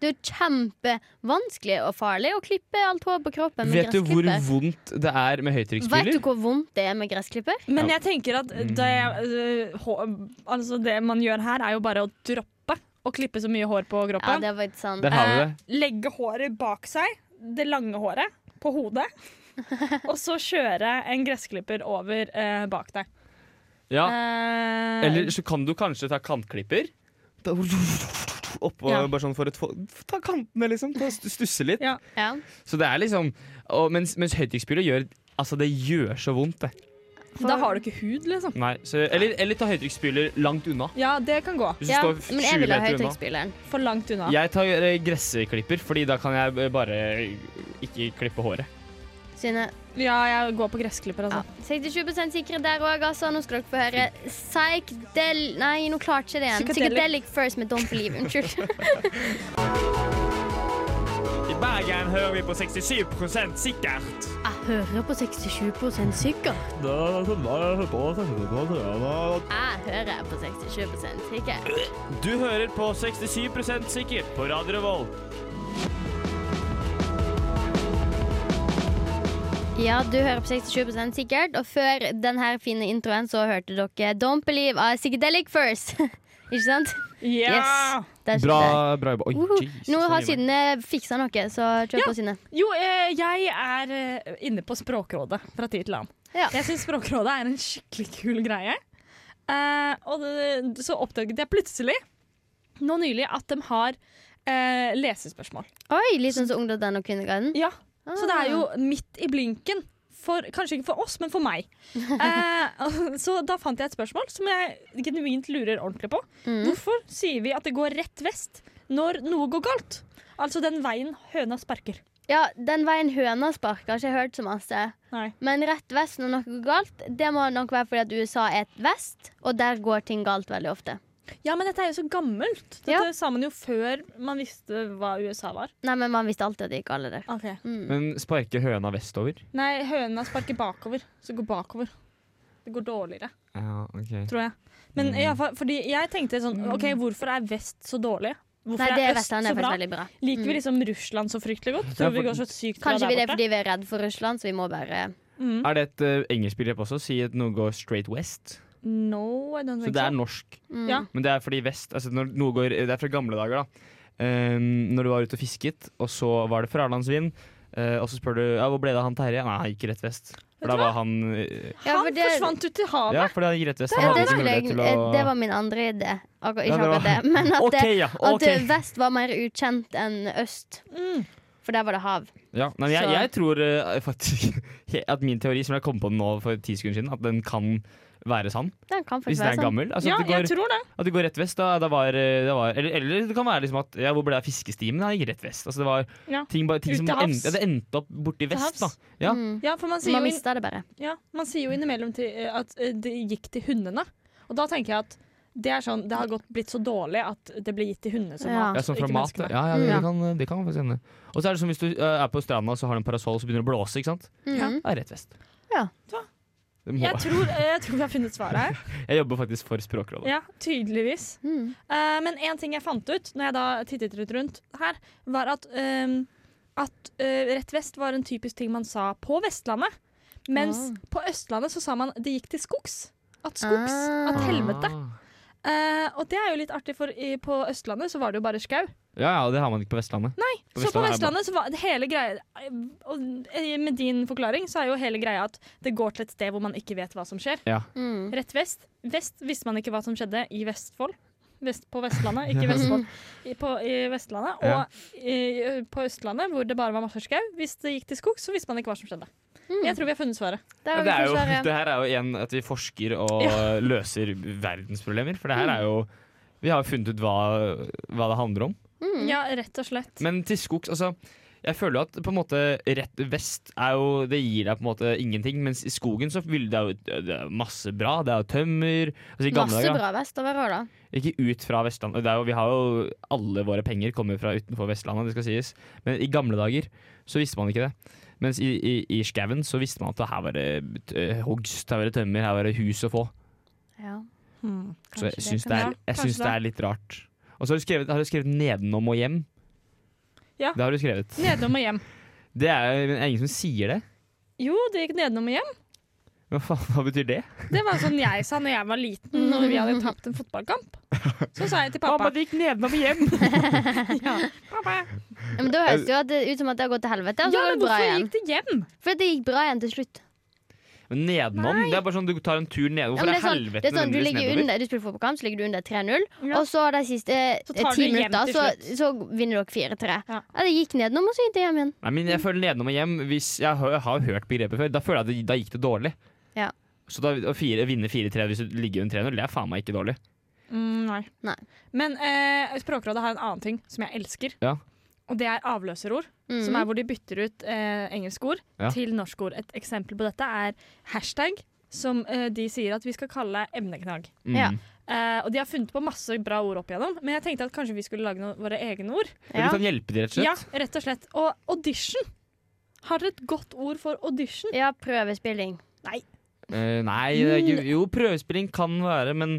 [SPEAKER 3] Det er jo kjempevanskelig og farlig å klippe alt hår på kroppen med
[SPEAKER 2] Vet du hvor
[SPEAKER 3] gressklipper.
[SPEAKER 2] vondt det
[SPEAKER 3] Vet
[SPEAKER 2] er med
[SPEAKER 3] du
[SPEAKER 2] høytrykksspyler?
[SPEAKER 3] hvor vondt det er med gressklipper?
[SPEAKER 1] Men jeg tenker at eh, det, øh, hå- altså det man gjør her, er jo bare å droppe å klippe så mye hår på
[SPEAKER 3] Ja,
[SPEAKER 1] kroppen.
[SPEAKER 3] det er faktisk sant.
[SPEAKER 2] Der har vi det.
[SPEAKER 1] Eh, legge håret bak seg, det lange håret, på hodet. og så kjøre en gressklipper over eh, bak deg.
[SPEAKER 2] Ja.
[SPEAKER 1] Eh,
[SPEAKER 2] Eller så kan du kanskje ta kantklipper. Da- Oppå,
[SPEAKER 1] Ja.
[SPEAKER 2] bare sånn for å få- ta kantene, liksom. Ta, stu- stusse litt.
[SPEAKER 1] Ja.
[SPEAKER 3] Ja.
[SPEAKER 2] Så det er liksom og, Mens, mens høytrykksspyler gjør Altså, det gjør så vondt, det.
[SPEAKER 1] Da har du ikke hud, liksom.
[SPEAKER 2] Nei, så, eller, eller ta høytrykksspyler langt unna.
[SPEAKER 1] Ja, det kan gå.
[SPEAKER 2] Hvis du
[SPEAKER 3] Ja,
[SPEAKER 2] står
[SPEAKER 3] men jeg
[SPEAKER 2] 20
[SPEAKER 3] vil ha
[SPEAKER 2] meter unna.
[SPEAKER 3] høytrykksspyleren.
[SPEAKER 1] For langt unna.
[SPEAKER 2] Jeg tar eh, gressklipper, fordi da kan jeg eh, bare ikke klippe håret.
[SPEAKER 3] Synne.
[SPEAKER 1] Ja, jeg går på gressklipper,
[SPEAKER 3] Ja.
[SPEAKER 1] altså.
[SPEAKER 3] 67 sikre der òg, altså. Nå skal dere få høre Psychedel... Nei, nå klarte jeg ikke det igjen.
[SPEAKER 1] Psychedelic.
[SPEAKER 3] Psychedelic First med Don't Believe. Unnskyld.
[SPEAKER 2] I Bergen hører vi på 67 sikkert.
[SPEAKER 3] Jeg hører på 67 sikkert. Jeg hører på 67 sikkert.
[SPEAKER 2] Du hører på 67 sikkert på Radio Revolt.
[SPEAKER 3] Ja, du hører på 67 sikkert. Og før denne fine introen så hørte dere Don't Believe av Psychedelic First. ikke sant?
[SPEAKER 1] Ja!
[SPEAKER 3] Der sitter jeg.
[SPEAKER 2] Bra, bra jobba. Oi,
[SPEAKER 3] Uhu.
[SPEAKER 2] Jesus,
[SPEAKER 3] Uhuh. Nå har
[SPEAKER 2] så mye.
[SPEAKER 3] Synne fiksa noe, så kjør på, Synne.
[SPEAKER 1] Jo, eh, jeg er eh, inne på Språkrådet fra tid til annen.
[SPEAKER 3] Ja.
[SPEAKER 1] Jeg syns Språkrådet er en skikkelig kul greie. Eh, og det, så oppdaget jeg plutselig nå nylig at de har eh, lesespørsmål.
[SPEAKER 3] Oi, litt sånn som Ungdommen og Kvinneguiden.
[SPEAKER 1] Ja,
[SPEAKER 3] Ah.
[SPEAKER 1] Så det er jo midt i blinken. For, kanskje ikke for oss, men for meg. Eh, så da fant jeg et spørsmål som jeg genuint lurer ordentlig på.
[SPEAKER 3] Ah. Mm.
[SPEAKER 1] Hvorfor sier vi at det går rett vest når noe går galt? Altså den veien høna sparker.
[SPEAKER 3] Ja, den veien høna sparker, har ikke jeg hørt så masse.
[SPEAKER 1] Nei.
[SPEAKER 3] Men rett vest når noe går galt, det må nok være fordi at USA er et vest, og der går ting galt veldig ofte.
[SPEAKER 1] Ja, men dette er jo så gammelt. Dette
[SPEAKER 3] Ja.
[SPEAKER 1] sa man jo før man visste hva USA var.
[SPEAKER 3] Nei, men man visste alltid at det gikk galt der.
[SPEAKER 2] Men sparker høna vestover?
[SPEAKER 1] Nei, høna sparker bakover. Så går bakover. Det går dårligere,
[SPEAKER 2] Ja, ok.
[SPEAKER 1] tror jeg. Men i alle fall, fordi jeg tenkte sånn OK, hvorfor er vest så dårlig? Hvorfor
[SPEAKER 3] Nei, det
[SPEAKER 1] er
[SPEAKER 3] er
[SPEAKER 1] øst så
[SPEAKER 3] Vestlandet er
[SPEAKER 1] bra?
[SPEAKER 3] faktisk veldig bra.
[SPEAKER 1] Liker vi liksom Russland så fryktelig godt?
[SPEAKER 2] Mm. Ja,
[SPEAKER 1] Tror
[SPEAKER 2] for-
[SPEAKER 1] vi går så sykt bra
[SPEAKER 3] Kanskje
[SPEAKER 1] der
[SPEAKER 3] vi det er
[SPEAKER 1] borte? Mm.
[SPEAKER 3] fordi vi er redd for Russland, så vi må bare
[SPEAKER 2] Er det et uh, engelsk begrep også? Si at noe går straight west.
[SPEAKER 1] No, I don't
[SPEAKER 2] Så
[SPEAKER 1] think
[SPEAKER 2] det er
[SPEAKER 1] so.
[SPEAKER 2] norsk.
[SPEAKER 3] mm.
[SPEAKER 1] Ja.
[SPEAKER 2] Men det er fordi vest altså når noe går, Det er fra gamle dager, da. Um, når du var ute og fisket, og så var det fralandsvind. Uh, og så spør du ja, hvor ble det av han Terje. Nei, han gikk rett vest. For da var han uh,
[SPEAKER 3] Ja,
[SPEAKER 1] Han
[SPEAKER 3] for det-
[SPEAKER 1] forsvant ut til havet.
[SPEAKER 2] Ja, fordi han gikk rett vest.
[SPEAKER 3] Ja,
[SPEAKER 2] Han hadde
[SPEAKER 3] det,
[SPEAKER 2] ikke
[SPEAKER 3] skulle
[SPEAKER 2] mulighet
[SPEAKER 3] jeg,
[SPEAKER 2] til å-
[SPEAKER 3] det var min andre idé. Akkurat, ikke
[SPEAKER 2] Ja, det var-
[SPEAKER 3] akkurat det, men at,
[SPEAKER 2] OK, ja.
[SPEAKER 3] det, at eh,
[SPEAKER 2] ok.
[SPEAKER 3] vest var mer ukjent enn øst.
[SPEAKER 1] Mm.
[SPEAKER 3] For der var det hav.
[SPEAKER 2] Ja, nei, men jeg,
[SPEAKER 3] Så-
[SPEAKER 2] jeg tror eh, faktisk at min teori, som jeg kom på nå for ti sekunder siden, at den kan være sann.
[SPEAKER 3] Den kan faktisk
[SPEAKER 2] Hvis den
[SPEAKER 3] være
[SPEAKER 2] er
[SPEAKER 3] sånn.
[SPEAKER 2] gammel. Altså,
[SPEAKER 1] ja,
[SPEAKER 2] at, det
[SPEAKER 1] jeg
[SPEAKER 2] går,
[SPEAKER 1] tror det.
[SPEAKER 2] at det går rett vest, da, da var, eh, det var eller, eller det kan være liksom at ja, hvor ble det av fiskestimen? Ja, det gikk rett vest. Altså, det var
[SPEAKER 1] Ja.
[SPEAKER 2] ting, bare, ting
[SPEAKER 1] Ut
[SPEAKER 2] som
[SPEAKER 1] til havs.
[SPEAKER 2] endte, ja, det endte opp borti vest, da.
[SPEAKER 1] havs.
[SPEAKER 2] Ja.
[SPEAKER 3] Mm.
[SPEAKER 1] Ja, for man sier,
[SPEAKER 3] Man
[SPEAKER 1] jo, inn,
[SPEAKER 3] mista det bare.
[SPEAKER 1] ja, man sier jo innimellom til, eh, at eh, det gikk til hundene. Og da tenker jeg at det er sånn, det har gått blitt så dårlig at det ble gitt til hundene som
[SPEAKER 3] Ja.
[SPEAKER 1] mat.
[SPEAKER 2] Ja, sånn fra
[SPEAKER 1] ikke
[SPEAKER 2] mat.
[SPEAKER 1] menneskene.
[SPEAKER 2] Ja, ja,
[SPEAKER 3] Mm.
[SPEAKER 2] det, det, kan, det kan faktisk hende. Og så er det som hvis du eh, er på stranda og så har du en parasoll som begynner det å blåse. ikke sant?
[SPEAKER 3] Mm.
[SPEAKER 1] Ja.
[SPEAKER 2] Det er rett vest.
[SPEAKER 3] Ja.
[SPEAKER 2] Det må,
[SPEAKER 1] Jeg tror, eh, jeg tror vi har funnet svaret her.
[SPEAKER 2] jeg jobber faktisk for Språkrådet.
[SPEAKER 1] Ja, tydeligvis.
[SPEAKER 3] Mm.
[SPEAKER 1] Eh, men en ting jeg fant ut når jeg da tittet litt rundt her, var at, ehm, at eh, rett vest var en typisk ting man sa på Vestlandet. Mens
[SPEAKER 3] Ah.
[SPEAKER 1] på Østlandet så sa man det gikk til skogs. At skogs. At
[SPEAKER 3] Ah.
[SPEAKER 1] helvete.
[SPEAKER 2] Ah.
[SPEAKER 1] Eh, og det er jo litt artig, for i, på Østlandet så var det jo bare skau.
[SPEAKER 2] Ja, ja, det har man ikke på Vestlandet. Nei,
[SPEAKER 1] Så på Vestlandet så var det hele greia Og eh, med din forklaring så er jo hele greia at det går til et sted hvor man ikke vet hva som skjer.
[SPEAKER 2] Ja.
[SPEAKER 3] Mm.
[SPEAKER 1] Rett vest. Vest visste man ikke hva som skjedde i Vestfold. Vest, på Vestlandet, ikke Vestfold. I, på, i Vestlandet. Og
[SPEAKER 2] Ja.
[SPEAKER 1] i, på Østlandet, hvor det bare var masse skau. Hvis det gikk til skog, så visste man ikke hva som skjedde.
[SPEAKER 3] Mm.
[SPEAKER 1] Jeg tror vi har funnet svaret.
[SPEAKER 3] Der
[SPEAKER 2] Ja,
[SPEAKER 3] har
[SPEAKER 2] det,
[SPEAKER 3] vi
[SPEAKER 2] er jo,
[SPEAKER 3] forsvaret.
[SPEAKER 2] det her er jo igjen at vi forsker og
[SPEAKER 1] Mm.
[SPEAKER 2] løser verdensproblemer. For det her er jo Vi har jo funnet ut hva, hva det handler om.
[SPEAKER 3] Mm.
[SPEAKER 1] Ja, rett og slett.
[SPEAKER 2] Men til skogs, altså jeg føler at på en måte rett vest er jo, det gir deg på en måte ingenting, mens i skogen så vil det, jo, det er masse bra. Det er jo tømmer. Altså, i gamle
[SPEAKER 3] Masse
[SPEAKER 2] dager, da.
[SPEAKER 3] bra vestover òg, da.
[SPEAKER 2] Ikke ut fra Vestlandet. Det er jo, vi har jo alle våre penger kommer fra utenfor Vestlandet, det skal sies. Men i gamle dager så visste man ikke det. Mens i, i, i skauen så visste man at her var det eh, hogst, her var det tømmer, her var det hus å få.
[SPEAKER 3] Ja.
[SPEAKER 1] Hmm.
[SPEAKER 2] Så jeg
[SPEAKER 3] Kanskje
[SPEAKER 2] syns
[SPEAKER 3] det
[SPEAKER 2] det,
[SPEAKER 1] kan-
[SPEAKER 2] er-
[SPEAKER 1] Ja,
[SPEAKER 2] jeg syns
[SPEAKER 1] kanskje
[SPEAKER 2] det er litt rart. Og så har du skrevet, har du skrevet 'nedenom og hjem'.
[SPEAKER 1] Ja.
[SPEAKER 2] Det har du skrevet.
[SPEAKER 1] Nedenom og hjem.
[SPEAKER 2] Det er, men er ingen som sier det.
[SPEAKER 1] Jo, det gikk nedenom og hjem.
[SPEAKER 2] Hva faen, hva betyr det?
[SPEAKER 1] Det var sånn jeg sa når jeg var liten,
[SPEAKER 3] Mm.
[SPEAKER 1] når vi hadde tapt en fotballkamp. Så sa jeg til pappa
[SPEAKER 2] det gikk nedenom og hjem.
[SPEAKER 1] Pappa,
[SPEAKER 3] Men da høres det jo at det ut som at det har gått til helvete,
[SPEAKER 1] ja,
[SPEAKER 3] og så går
[SPEAKER 1] men
[SPEAKER 3] det bra
[SPEAKER 1] hvorfor
[SPEAKER 3] igjen.
[SPEAKER 1] gikk det hjem?
[SPEAKER 3] For det gikk bra igjen til slutt.
[SPEAKER 2] Men nedenom? Det er bare sånn du tar en tur ned.
[SPEAKER 3] Ja, men
[SPEAKER 2] Hvorfor er
[SPEAKER 3] det er sånn,
[SPEAKER 2] helvete
[SPEAKER 3] det er sånn, du
[SPEAKER 2] nødvendigvis
[SPEAKER 3] ligger
[SPEAKER 2] nedover?
[SPEAKER 3] under, du spiller fotballkamp, så ligger du under 3-0.
[SPEAKER 1] Ja.
[SPEAKER 3] Og så de siste eh,
[SPEAKER 1] Så tar
[SPEAKER 3] ti
[SPEAKER 1] du det hjem
[SPEAKER 3] minutter,
[SPEAKER 1] til
[SPEAKER 3] så, så vinner dere 4-3.
[SPEAKER 1] Ja.
[SPEAKER 3] Ja. det gikk nedenom, og så gikk det hjem igjen.
[SPEAKER 2] Nei, men jeg føler nedenom og hjem Hvis jeg har, jeg har hørt begrepet før, da føler jeg at det, da gikk det dårlig.
[SPEAKER 3] Ja.
[SPEAKER 2] Så da, å fire, vinne 4-3 hvis du ligger under 3-0, det er faen meg ikke dårlig.
[SPEAKER 1] Mm, nei.
[SPEAKER 3] Nei.
[SPEAKER 1] Men eh, Språkrådet har en annen ting som jeg elsker.
[SPEAKER 2] Ja.
[SPEAKER 1] Og det er avløserord,
[SPEAKER 3] Mm.
[SPEAKER 1] som er hvor de bytter ut eh, engelske ord
[SPEAKER 2] Ja.
[SPEAKER 1] til norske ord. Et eksempel på dette er hashtag, som eh, de sier at vi skal kalle emneknagg.
[SPEAKER 2] Mm.
[SPEAKER 3] Ja.
[SPEAKER 1] Eh, og de har funnet på masse bra ord opp igjennom, men jeg tenkte at kanskje vi skulle lage noen, våre egne ord.
[SPEAKER 2] Men
[SPEAKER 3] Ja.
[SPEAKER 2] Du kan hjelpe de, rett og
[SPEAKER 1] Ja,
[SPEAKER 2] slett.
[SPEAKER 1] rett og slett. Og audition. Har dere et godt ord for audition?
[SPEAKER 3] ja, prøvespilling.
[SPEAKER 2] Eh, nei,
[SPEAKER 3] Mm.
[SPEAKER 2] det er ikke, jo, prøvespilling kan være, men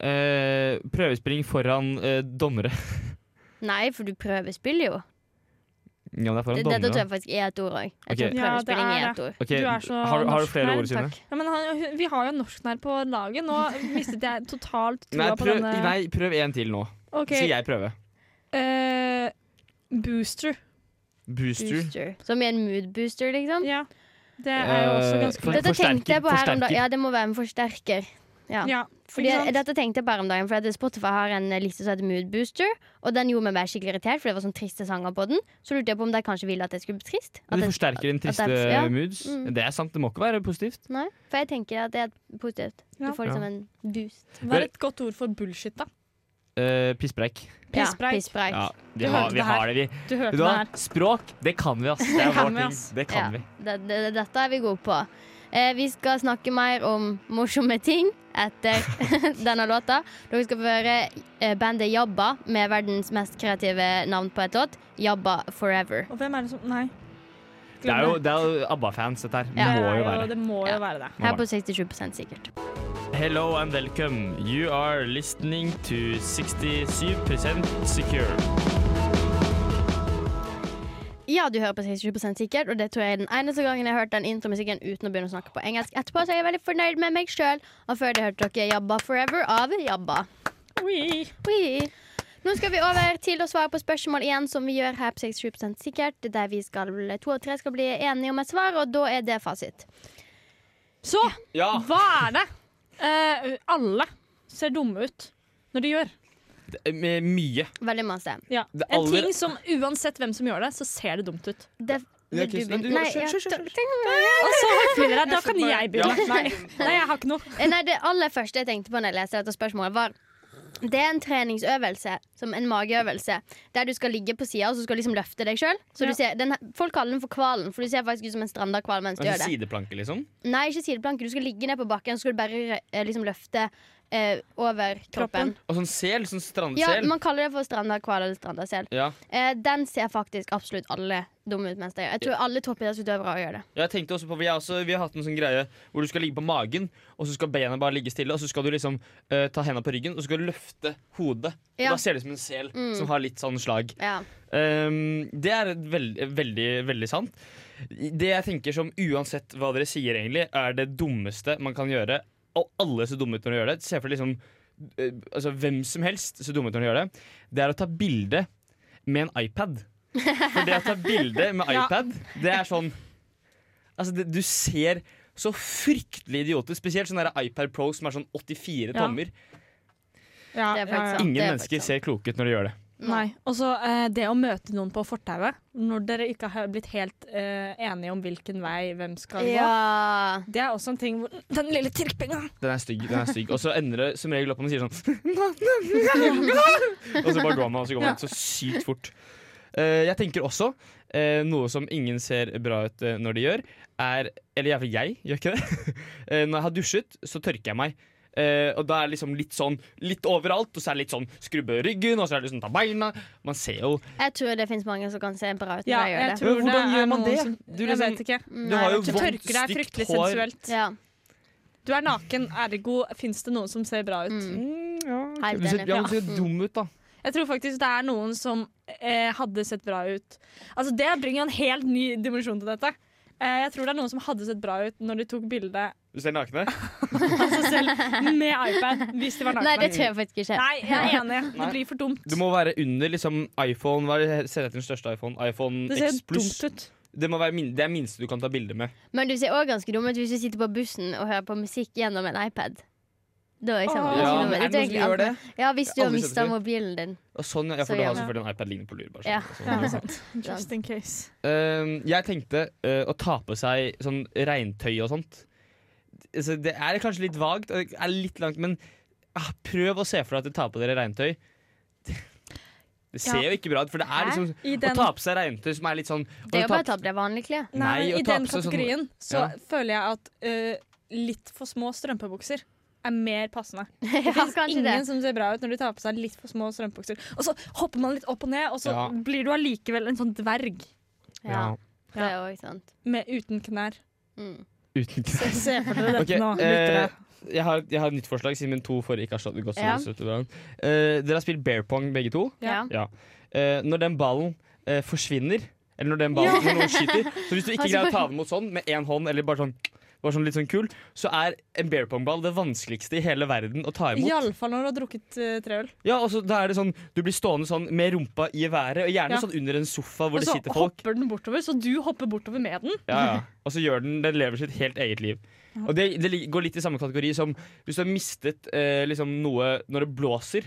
[SPEAKER 2] eh, prøvespilling foran eh, dommere.
[SPEAKER 3] Nei, for du prøvespiller jo.
[SPEAKER 2] Ja, det er foran
[SPEAKER 3] Det- Dette tror
[SPEAKER 2] dommere.
[SPEAKER 3] jeg faktisk er et ord òg. Jeg tror
[SPEAKER 2] Ok.
[SPEAKER 1] Ja, det
[SPEAKER 3] prøvespilling
[SPEAKER 1] er
[SPEAKER 3] er et ord.
[SPEAKER 2] Ok,
[SPEAKER 1] Du er så
[SPEAKER 2] har, har du
[SPEAKER 1] norsk
[SPEAKER 2] flere
[SPEAKER 1] her,
[SPEAKER 2] ord, Synne?
[SPEAKER 3] Takk.
[SPEAKER 1] Ja, men han, vi har jo norsk her på laget. Nå mistet jeg totalt
[SPEAKER 2] Nei,
[SPEAKER 1] troa på
[SPEAKER 2] prøv,
[SPEAKER 1] denne.
[SPEAKER 2] nei, prøv en til nå.
[SPEAKER 1] Ok,
[SPEAKER 2] Så jeg prøve.
[SPEAKER 1] eh, booster.
[SPEAKER 2] Booster.
[SPEAKER 3] Booster. Som er en mood booster, liksom.
[SPEAKER 1] Ja. Det er jo også
[SPEAKER 2] Eh,
[SPEAKER 1] ganske
[SPEAKER 2] for-
[SPEAKER 1] lett.
[SPEAKER 3] Dette tenkte jeg på her om
[SPEAKER 2] forsterker.
[SPEAKER 3] dagen. Ja, det må være en forsterker. Ja.
[SPEAKER 1] Ja,
[SPEAKER 3] Fordi
[SPEAKER 1] ikke sant?
[SPEAKER 3] dette tenkte jeg bare om dagen, for at Spotify har en eh, liste som heter Mood Booster. Og den gjorde meg bare skikkelig irritert, for det var sånn triste sanger på den. Så lurte jeg på om de kanskje ville at jeg skulle bli trist. At
[SPEAKER 2] Du
[SPEAKER 3] jeg-
[SPEAKER 2] forsterker din
[SPEAKER 3] at- at
[SPEAKER 2] triste
[SPEAKER 3] jeg- ja.
[SPEAKER 2] moods.
[SPEAKER 3] Mm.
[SPEAKER 2] Det er sant, det må ikke være positivt.
[SPEAKER 3] Nei, for jeg tenker at det er positivt.
[SPEAKER 1] Ja.
[SPEAKER 3] Du får liksom
[SPEAKER 2] Ja.
[SPEAKER 3] en boost.
[SPEAKER 1] Hva er et godt ord for bullshit, da?
[SPEAKER 2] Eh, Pisspreik.
[SPEAKER 1] Pisspreik.
[SPEAKER 3] Ja, pisspreik.
[SPEAKER 2] Ja, vi
[SPEAKER 1] Du
[SPEAKER 2] har,
[SPEAKER 1] hørte
[SPEAKER 2] vi
[SPEAKER 1] det her.
[SPEAKER 2] har det, vi.
[SPEAKER 1] Du hørte
[SPEAKER 2] Vet du
[SPEAKER 1] det
[SPEAKER 2] hva?
[SPEAKER 1] her.
[SPEAKER 2] Språk, det kan vi, ass. Det er
[SPEAKER 1] kan
[SPEAKER 2] vår
[SPEAKER 1] vi,
[SPEAKER 2] ting.
[SPEAKER 1] ass.
[SPEAKER 2] Det kan
[SPEAKER 3] Ja.
[SPEAKER 2] vi.
[SPEAKER 3] Det, det, det- dette er vi gode på. Eh, vi skal snakke mer om morsomme ting etter denne låta. Dere skal få høre eh, bandet Jabba med verdens mest kreative navn på et låt. Jabba Forever.
[SPEAKER 1] Og hvem er det som Nei.
[SPEAKER 2] Det er jo, det er jo ABBA-fans, dette her.
[SPEAKER 1] Det
[SPEAKER 2] Det må
[SPEAKER 1] er
[SPEAKER 2] jo være.
[SPEAKER 1] Det må
[SPEAKER 3] Ja.
[SPEAKER 1] jo være det.
[SPEAKER 2] Må
[SPEAKER 3] Her
[SPEAKER 2] være.
[SPEAKER 3] på 67 sikkert.
[SPEAKER 2] Hello and welcome. You are listening to 67 secure.
[SPEAKER 3] Ja, du hører på 67 sikkert, og det tror jeg er den eneste gangen jeg har hørt den intromusikken uten å begynne å snakke på engelsk etterpå, så jeg er veldig fornøyd med meg sjøl. Og før det hørte dere Jabba Forever av Jabba.
[SPEAKER 1] Oi.
[SPEAKER 3] Oi. Nå skal vi over til å svare på spørsmål igjen, som vi gjør her på 67 sikkert. Der vi skal, to og tre skal bli enige om et svar, og da er det fasit.
[SPEAKER 1] Så
[SPEAKER 2] Ja.
[SPEAKER 1] hva er det eh, alle ser dumme ut når de gjør?
[SPEAKER 2] Det er med mye.
[SPEAKER 3] Veldig masse.
[SPEAKER 1] Ja.
[SPEAKER 2] Det
[SPEAKER 1] En
[SPEAKER 2] aller-
[SPEAKER 1] ting som uansett hvem som gjør det, så ser det dumt ut.
[SPEAKER 3] Det,
[SPEAKER 2] Ja,
[SPEAKER 3] vil
[SPEAKER 2] Kristin,
[SPEAKER 3] begynne?
[SPEAKER 2] du-
[SPEAKER 3] nei,
[SPEAKER 2] kjør,
[SPEAKER 3] ja,
[SPEAKER 2] kjør, kjør,
[SPEAKER 3] tenk- tenk-
[SPEAKER 1] Og så har flere her. Da kan
[SPEAKER 2] bare-
[SPEAKER 1] jeg begynne.
[SPEAKER 2] Ja.
[SPEAKER 1] Nei. Nei, jeg har ikke noe.
[SPEAKER 3] Eh, nei, det aller første jeg tenkte på når jeg leste dette spørsmålet, var det er en treningsøvelse, som en mageøvelse, der du skal ligge på sida og så skal du liksom løfte deg sjøl.
[SPEAKER 1] Ja.
[SPEAKER 3] Folk kaller den for hvalen, for du ser faktisk ut som en stranda hval mens du gjør
[SPEAKER 2] Altså
[SPEAKER 3] det.
[SPEAKER 2] sideplanke, liksom.
[SPEAKER 3] Nei, ikke sideplanke. Du skal ligge ned på bakken og så skal du bare eh, liksom løfte eh, over kroppen.
[SPEAKER 2] Og sånn sel. Sånn
[SPEAKER 3] Ja,
[SPEAKER 2] strandsel.
[SPEAKER 3] man kaller det for strandahval eller strandasel.
[SPEAKER 2] Ja.
[SPEAKER 3] Eh, den ser faktisk absolutt alle dumme ut mens de gjør. Jeg tror alle toppidrettsutøvere gjør det.
[SPEAKER 2] Jeg tenkte også på, vi, har også, vi har hatt en sånn greie hvor du skal ligge på magen, og så skal bena bare ligge stille, og så skal du liksom eh, ta hendene på ryggen, og så skal du løfte hodet.
[SPEAKER 3] Ja.
[SPEAKER 2] Og da ser det ut som en sel
[SPEAKER 3] Mm.
[SPEAKER 2] som har litt sånn slag.
[SPEAKER 3] Ja.
[SPEAKER 2] Ehm, det er veld, veldig, veldig sant. Det jeg tenker som uansett hva dere sier egentlig, er det dummeste man kan gjøre. Og alle ser dumme ut når de gjør det. Se for deg liksom, eh, altså, hvem som helst ser dumme ut når de gjør det. Det er å ta bilde med en iPad. For det å ta bilde med
[SPEAKER 1] Ja.
[SPEAKER 2] iPad, det er sånn Altså, det, du ser så fryktelig idioter, spesielt sånn der iPad Pro som er sånn 84
[SPEAKER 1] Ja.
[SPEAKER 2] tommer.
[SPEAKER 1] Ja,
[SPEAKER 3] Det er faktisk sant.
[SPEAKER 2] Ingen
[SPEAKER 3] det er
[SPEAKER 2] mennesker
[SPEAKER 3] faktisk
[SPEAKER 2] ser kloke ut når de gjør det.
[SPEAKER 1] Nei. Og så eh, det å møte noen på fortauet, når dere ikke har blitt helt eh, enige om hvilken vei hvem skal gå.
[SPEAKER 3] Ja.
[SPEAKER 1] Det er også en ting hvor Den lille tirpinga!
[SPEAKER 2] Den er stygg. den er stygg Og så ender det som regel opp om man sier sånn Og så bare går man, og så går man så sykt fort. Eh, jeg tenker også eh, noe som ingen ser bra ut eh, når de gjør, er Eller iallfall jeg gjør ikke det. Eh, når jeg har dusjet, så tørker jeg meg. Eh, og da er det liksom litt sånn litt overalt, og så er det litt sånn skrubbe ryggen, og så er det liksom ta beina. Man ser jo
[SPEAKER 3] Jeg tror det fins mange som kan se bra ut når
[SPEAKER 1] Ja,
[SPEAKER 3] de gjør
[SPEAKER 1] jeg
[SPEAKER 3] det.
[SPEAKER 1] tror
[SPEAKER 2] Men
[SPEAKER 1] det
[SPEAKER 2] hvordan gjør
[SPEAKER 1] er
[SPEAKER 2] man
[SPEAKER 1] noen
[SPEAKER 2] det?
[SPEAKER 1] Som,
[SPEAKER 2] Du
[SPEAKER 1] jeg
[SPEAKER 2] liksom-
[SPEAKER 1] vet ikke.
[SPEAKER 3] Mm,
[SPEAKER 2] Du
[SPEAKER 3] nei,
[SPEAKER 2] har jo
[SPEAKER 1] Du
[SPEAKER 2] vondt,
[SPEAKER 1] tørker deg
[SPEAKER 2] stygt
[SPEAKER 1] fryktelig
[SPEAKER 2] hår.
[SPEAKER 1] sensuelt.
[SPEAKER 3] Ja,
[SPEAKER 1] Du er naken, ergo fins det noen som ser bra ut.
[SPEAKER 3] Mm.
[SPEAKER 2] Mm, ja,
[SPEAKER 3] Helt
[SPEAKER 2] Du ser,
[SPEAKER 3] enig.
[SPEAKER 2] ja, du ser dum ut, da.
[SPEAKER 1] Jeg tror faktisk det er noen som eh, hadde sett bra ut. Altså Det bringer jo en helt ny dimensjon til dette. Eh, jeg tror det er noen som hadde sett bra ut når de tok bilde
[SPEAKER 2] Du ser nakne.
[SPEAKER 1] av seg selv med iPad hvis de var nakne.
[SPEAKER 3] Nei, det tror jeg faktisk ikke.
[SPEAKER 1] Nei, jeg er enig. Det
[SPEAKER 2] Nei.
[SPEAKER 1] blir for dumt.
[SPEAKER 2] Du må være under liksom iPhone Hva er det ser etter den største iPhone? iPhone
[SPEAKER 1] Det ser
[SPEAKER 2] X Plus.
[SPEAKER 1] dumt ut.
[SPEAKER 2] Det, må være min det er minste du kan ta bilde med.
[SPEAKER 3] Men du ser òg ganske dum ut hvis du sitter på bussen og hører på musikk gjennom en iPad. Da er jeg sånn,
[SPEAKER 1] Åh.
[SPEAKER 3] sammen
[SPEAKER 1] Ja,
[SPEAKER 3] med
[SPEAKER 2] er det noen som gjør det?
[SPEAKER 3] Ja, hvis du har
[SPEAKER 2] Aldri sett
[SPEAKER 3] mista
[SPEAKER 2] det før.
[SPEAKER 3] mobilen din.
[SPEAKER 2] Og sånn, ja, for
[SPEAKER 3] Så
[SPEAKER 2] du
[SPEAKER 3] gjør
[SPEAKER 2] har
[SPEAKER 1] man.
[SPEAKER 2] selvfølgelig en iPad liggende på lur. Bare,
[SPEAKER 3] Ja.
[SPEAKER 2] sånn,
[SPEAKER 1] Ja,
[SPEAKER 2] sånn.
[SPEAKER 1] sant. Just in case.
[SPEAKER 2] Eh, jeg tenkte eh, å ta på seg sånn regntøy og sånt. Altså, det er kanskje litt vagt, og det er litt langt, men ah, prøv å se for deg at du tar på dere regntøy. Det ser
[SPEAKER 1] Ja.
[SPEAKER 2] jo ikke bra ut, for det er
[SPEAKER 3] Hæ?
[SPEAKER 2] liksom
[SPEAKER 1] I
[SPEAKER 2] Å
[SPEAKER 1] den,
[SPEAKER 2] ta på seg regntøy som er litt sånn
[SPEAKER 3] Det er
[SPEAKER 2] å
[SPEAKER 3] jo bare
[SPEAKER 2] ta
[SPEAKER 3] å
[SPEAKER 2] på-
[SPEAKER 3] ta på deg vanlige klær.
[SPEAKER 1] nei,
[SPEAKER 2] Nei,
[SPEAKER 1] men
[SPEAKER 2] å
[SPEAKER 1] I
[SPEAKER 2] ta
[SPEAKER 1] den
[SPEAKER 2] på seg sånn-
[SPEAKER 1] kategorien så
[SPEAKER 2] Ja.
[SPEAKER 1] føler jeg at eh, litt for små strømpebukser er mer passende.
[SPEAKER 3] ja, kanskje
[SPEAKER 1] Ingen
[SPEAKER 3] det.
[SPEAKER 1] som ser bra ut når de tar på seg litt for små strømpebukser. Og så hopper man litt opp og ned, og så
[SPEAKER 2] Ja.
[SPEAKER 1] blir du allikevel en sånn dverg
[SPEAKER 3] Ja,
[SPEAKER 2] Ja.
[SPEAKER 3] det er òg sant.
[SPEAKER 1] med uten knær.
[SPEAKER 3] Mm.
[SPEAKER 2] Uten
[SPEAKER 1] Se, se for dere dette
[SPEAKER 2] Ok,
[SPEAKER 1] nå.
[SPEAKER 2] eh,
[SPEAKER 1] lyttere.
[SPEAKER 2] jeg, har, jeg har et nytt forslag, siden min to forrige ikke har slått godt.
[SPEAKER 3] Ja.
[SPEAKER 2] Ja. Uh, dere har spilt bear pong, begge to.
[SPEAKER 3] Ja.
[SPEAKER 1] Ja.
[SPEAKER 2] Eh, når den ballen eh, forsvinner, eller når den ballen når noen skyter Så hvis du ikke
[SPEAKER 3] Altså,
[SPEAKER 2] greier å ta
[SPEAKER 3] bare-
[SPEAKER 2] den mot sånn med én hånd, eller bare sånn, bare sånn litt sånn kul, så er en bear pong-ball det vanskeligste i hele verden å ta imot. Ja.
[SPEAKER 1] Iallfall når du har drukket uh, tre øl.
[SPEAKER 2] og så da er det sånn Du blir stående sånn med rumpa i været, og gjerne
[SPEAKER 1] Ja.
[SPEAKER 2] sånn under en sofa hvor
[SPEAKER 1] Og
[SPEAKER 2] det
[SPEAKER 3] Altså,
[SPEAKER 1] så
[SPEAKER 2] sitter folk.
[SPEAKER 1] hopper den bortover, så du hopper bortover med den.
[SPEAKER 2] Ja, ja. Og så gjør den Den lever sitt helt eget liv. Og det, det li- går litt i samme kategori som hvis du har mistet eh, liksom noe når det blåser.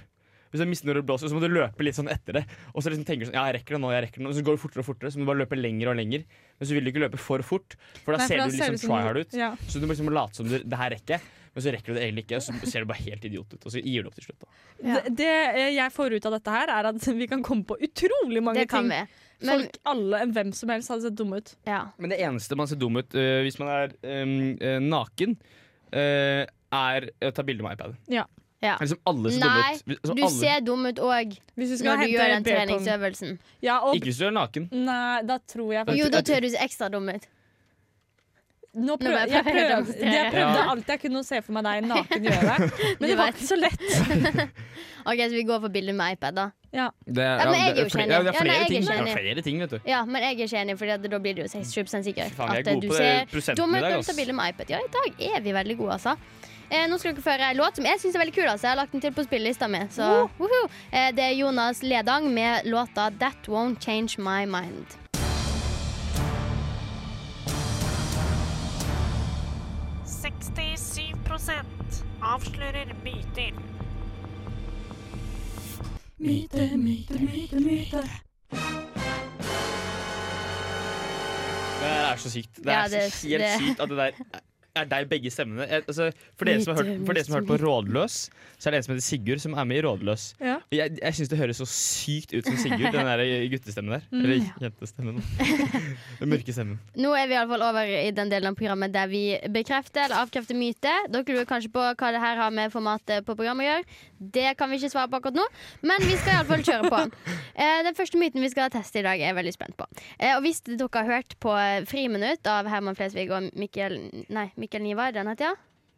[SPEAKER 2] Hvis du har mistet noe når det blåser, så må du løpe litt sånn etter det. Og så liksom tenker du sånn, ja, jeg rekker det nå, jeg rekker det nå. Og så går du fortere og fortere, så må du bare løpe lenger og lenger. Men så vil du ikke løpe for fort, for da
[SPEAKER 1] Nei, for
[SPEAKER 2] ser du
[SPEAKER 1] ser
[SPEAKER 2] liksom
[SPEAKER 1] det som-
[SPEAKER 2] try hard ut.
[SPEAKER 1] Ja.
[SPEAKER 2] Så du må liksom late som du, det her rekker jeg, men så rekker du det egentlig ikke. Og så ser du bare helt idiot ut, og så gir du opp til slutt. Da.
[SPEAKER 3] Ja.
[SPEAKER 1] Det, det eh, jeg får ut av dette her, er at vi kan komme på utrolig mange
[SPEAKER 3] Det kan
[SPEAKER 1] ting.
[SPEAKER 3] vi. Men
[SPEAKER 1] Folk, alle, eh, hvem som helst, hadde sett dumme ut.
[SPEAKER 3] ja.
[SPEAKER 2] Men det eneste man ser dum ut eh, hvis man er eh, eh, naken, eh, er å ta bilde med iPad.
[SPEAKER 3] ja.
[SPEAKER 2] Det er Liksom alle ser
[SPEAKER 3] Nei,
[SPEAKER 2] dumme ut. Altså,
[SPEAKER 3] Du
[SPEAKER 2] alle-
[SPEAKER 3] ser dum ut òg
[SPEAKER 1] Hvis vi skal
[SPEAKER 3] når du
[SPEAKER 1] hente
[SPEAKER 3] gjør den
[SPEAKER 1] beer pong-
[SPEAKER 3] treningsøvelsen.
[SPEAKER 1] Ja, og,
[SPEAKER 2] Ikke hvis du er naken.
[SPEAKER 1] nei, da tror jeg
[SPEAKER 3] Jo,
[SPEAKER 1] faktisk
[SPEAKER 3] da tør du se ekstra dum ut.
[SPEAKER 1] Nå
[SPEAKER 3] Nå må
[SPEAKER 1] prøver,
[SPEAKER 3] jeg
[SPEAKER 1] jeg,
[SPEAKER 3] prøve å
[SPEAKER 1] prøver,
[SPEAKER 3] demonstrere.
[SPEAKER 1] jeg prøvde
[SPEAKER 2] Ja.
[SPEAKER 1] alt jeg kunne å se for meg deg naken gjøre, men
[SPEAKER 3] Du
[SPEAKER 1] det var
[SPEAKER 3] vet.
[SPEAKER 1] ikke så lett.
[SPEAKER 3] OK, så vi går for bildet med iPad, da.
[SPEAKER 2] Det
[SPEAKER 3] Ja, men jeg er jo ikke enig.
[SPEAKER 2] Ja, det
[SPEAKER 3] Ja,
[SPEAKER 2] er
[SPEAKER 3] nei, jeg
[SPEAKER 2] flere
[SPEAKER 3] er
[SPEAKER 2] ting.
[SPEAKER 3] ikke
[SPEAKER 2] Det
[SPEAKER 3] enig.
[SPEAKER 2] er flere ting, vet du.
[SPEAKER 3] Ja, men jeg er ikke enig, for da blir det jo 60 sikkert.
[SPEAKER 2] Faen, jeg er
[SPEAKER 3] at
[SPEAKER 2] god
[SPEAKER 3] du
[SPEAKER 2] på det
[SPEAKER 3] ser
[SPEAKER 2] prosenten
[SPEAKER 3] dum
[SPEAKER 2] i
[SPEAKER 3] ut
[SPEAKER 2] dag,
[SPEAKER 3] når du
[SPEAKER 2] ass.
[SPEAKER 3] tar bilde med iPad. Ja, i dag er vi veldig gode, altså. Eh, nå skal dere få høre en låt som jeg syns er veldig kul. Altså. Jeg har lagt den til på spillelista mi. Så, woho! eh, det er Jonas Ledang med låta 'That Won't Change My Mind'.
[SPEAKER 4] avslører myter.
[SPEAKER 2] Det her er så sykt. Det
[SPEAKER 3] Ja,
[SPEAKER 2] er så
[SPEAKER 3] det-
[SPEAKER 2] helt
[SPEAKER 3] det-
[SPEAKER 2] sykt at det der er deg begge stemmene. Jeg, altså, for dere som har hørt, for dere som har hørt på Rådløs, så er det en som heter Sigurd, som er med i Rådløs.
[SPEAKER 1] Ja.
[SPEAKER 2] Jeg, jeg syns det høres så sykt ut som Sigurd, den der guttestemmen der.
[SPEAKER 3] Mm.
[SPEAKER 2] Eller jentestemmen. Den mørke stemmen.
[SPEAKER 3] Nå er vi iallfall over i den delen av programmet der vi bekrefter eller avkrefter myte. Dere lurer kanskje på hva det her har med formatet på programmet å gjøre. Det kan vi ikke svare på akkurat nå, men vi skal iallfall kjøre på. Eh, Den første myten vi skal teste i dag, er jeg veldig spent på. Eh, Og hvis dere har hørt på Friminutt av Herman Flesvig og Mikkel Nei, Mikkel Niva, er det den heter ja?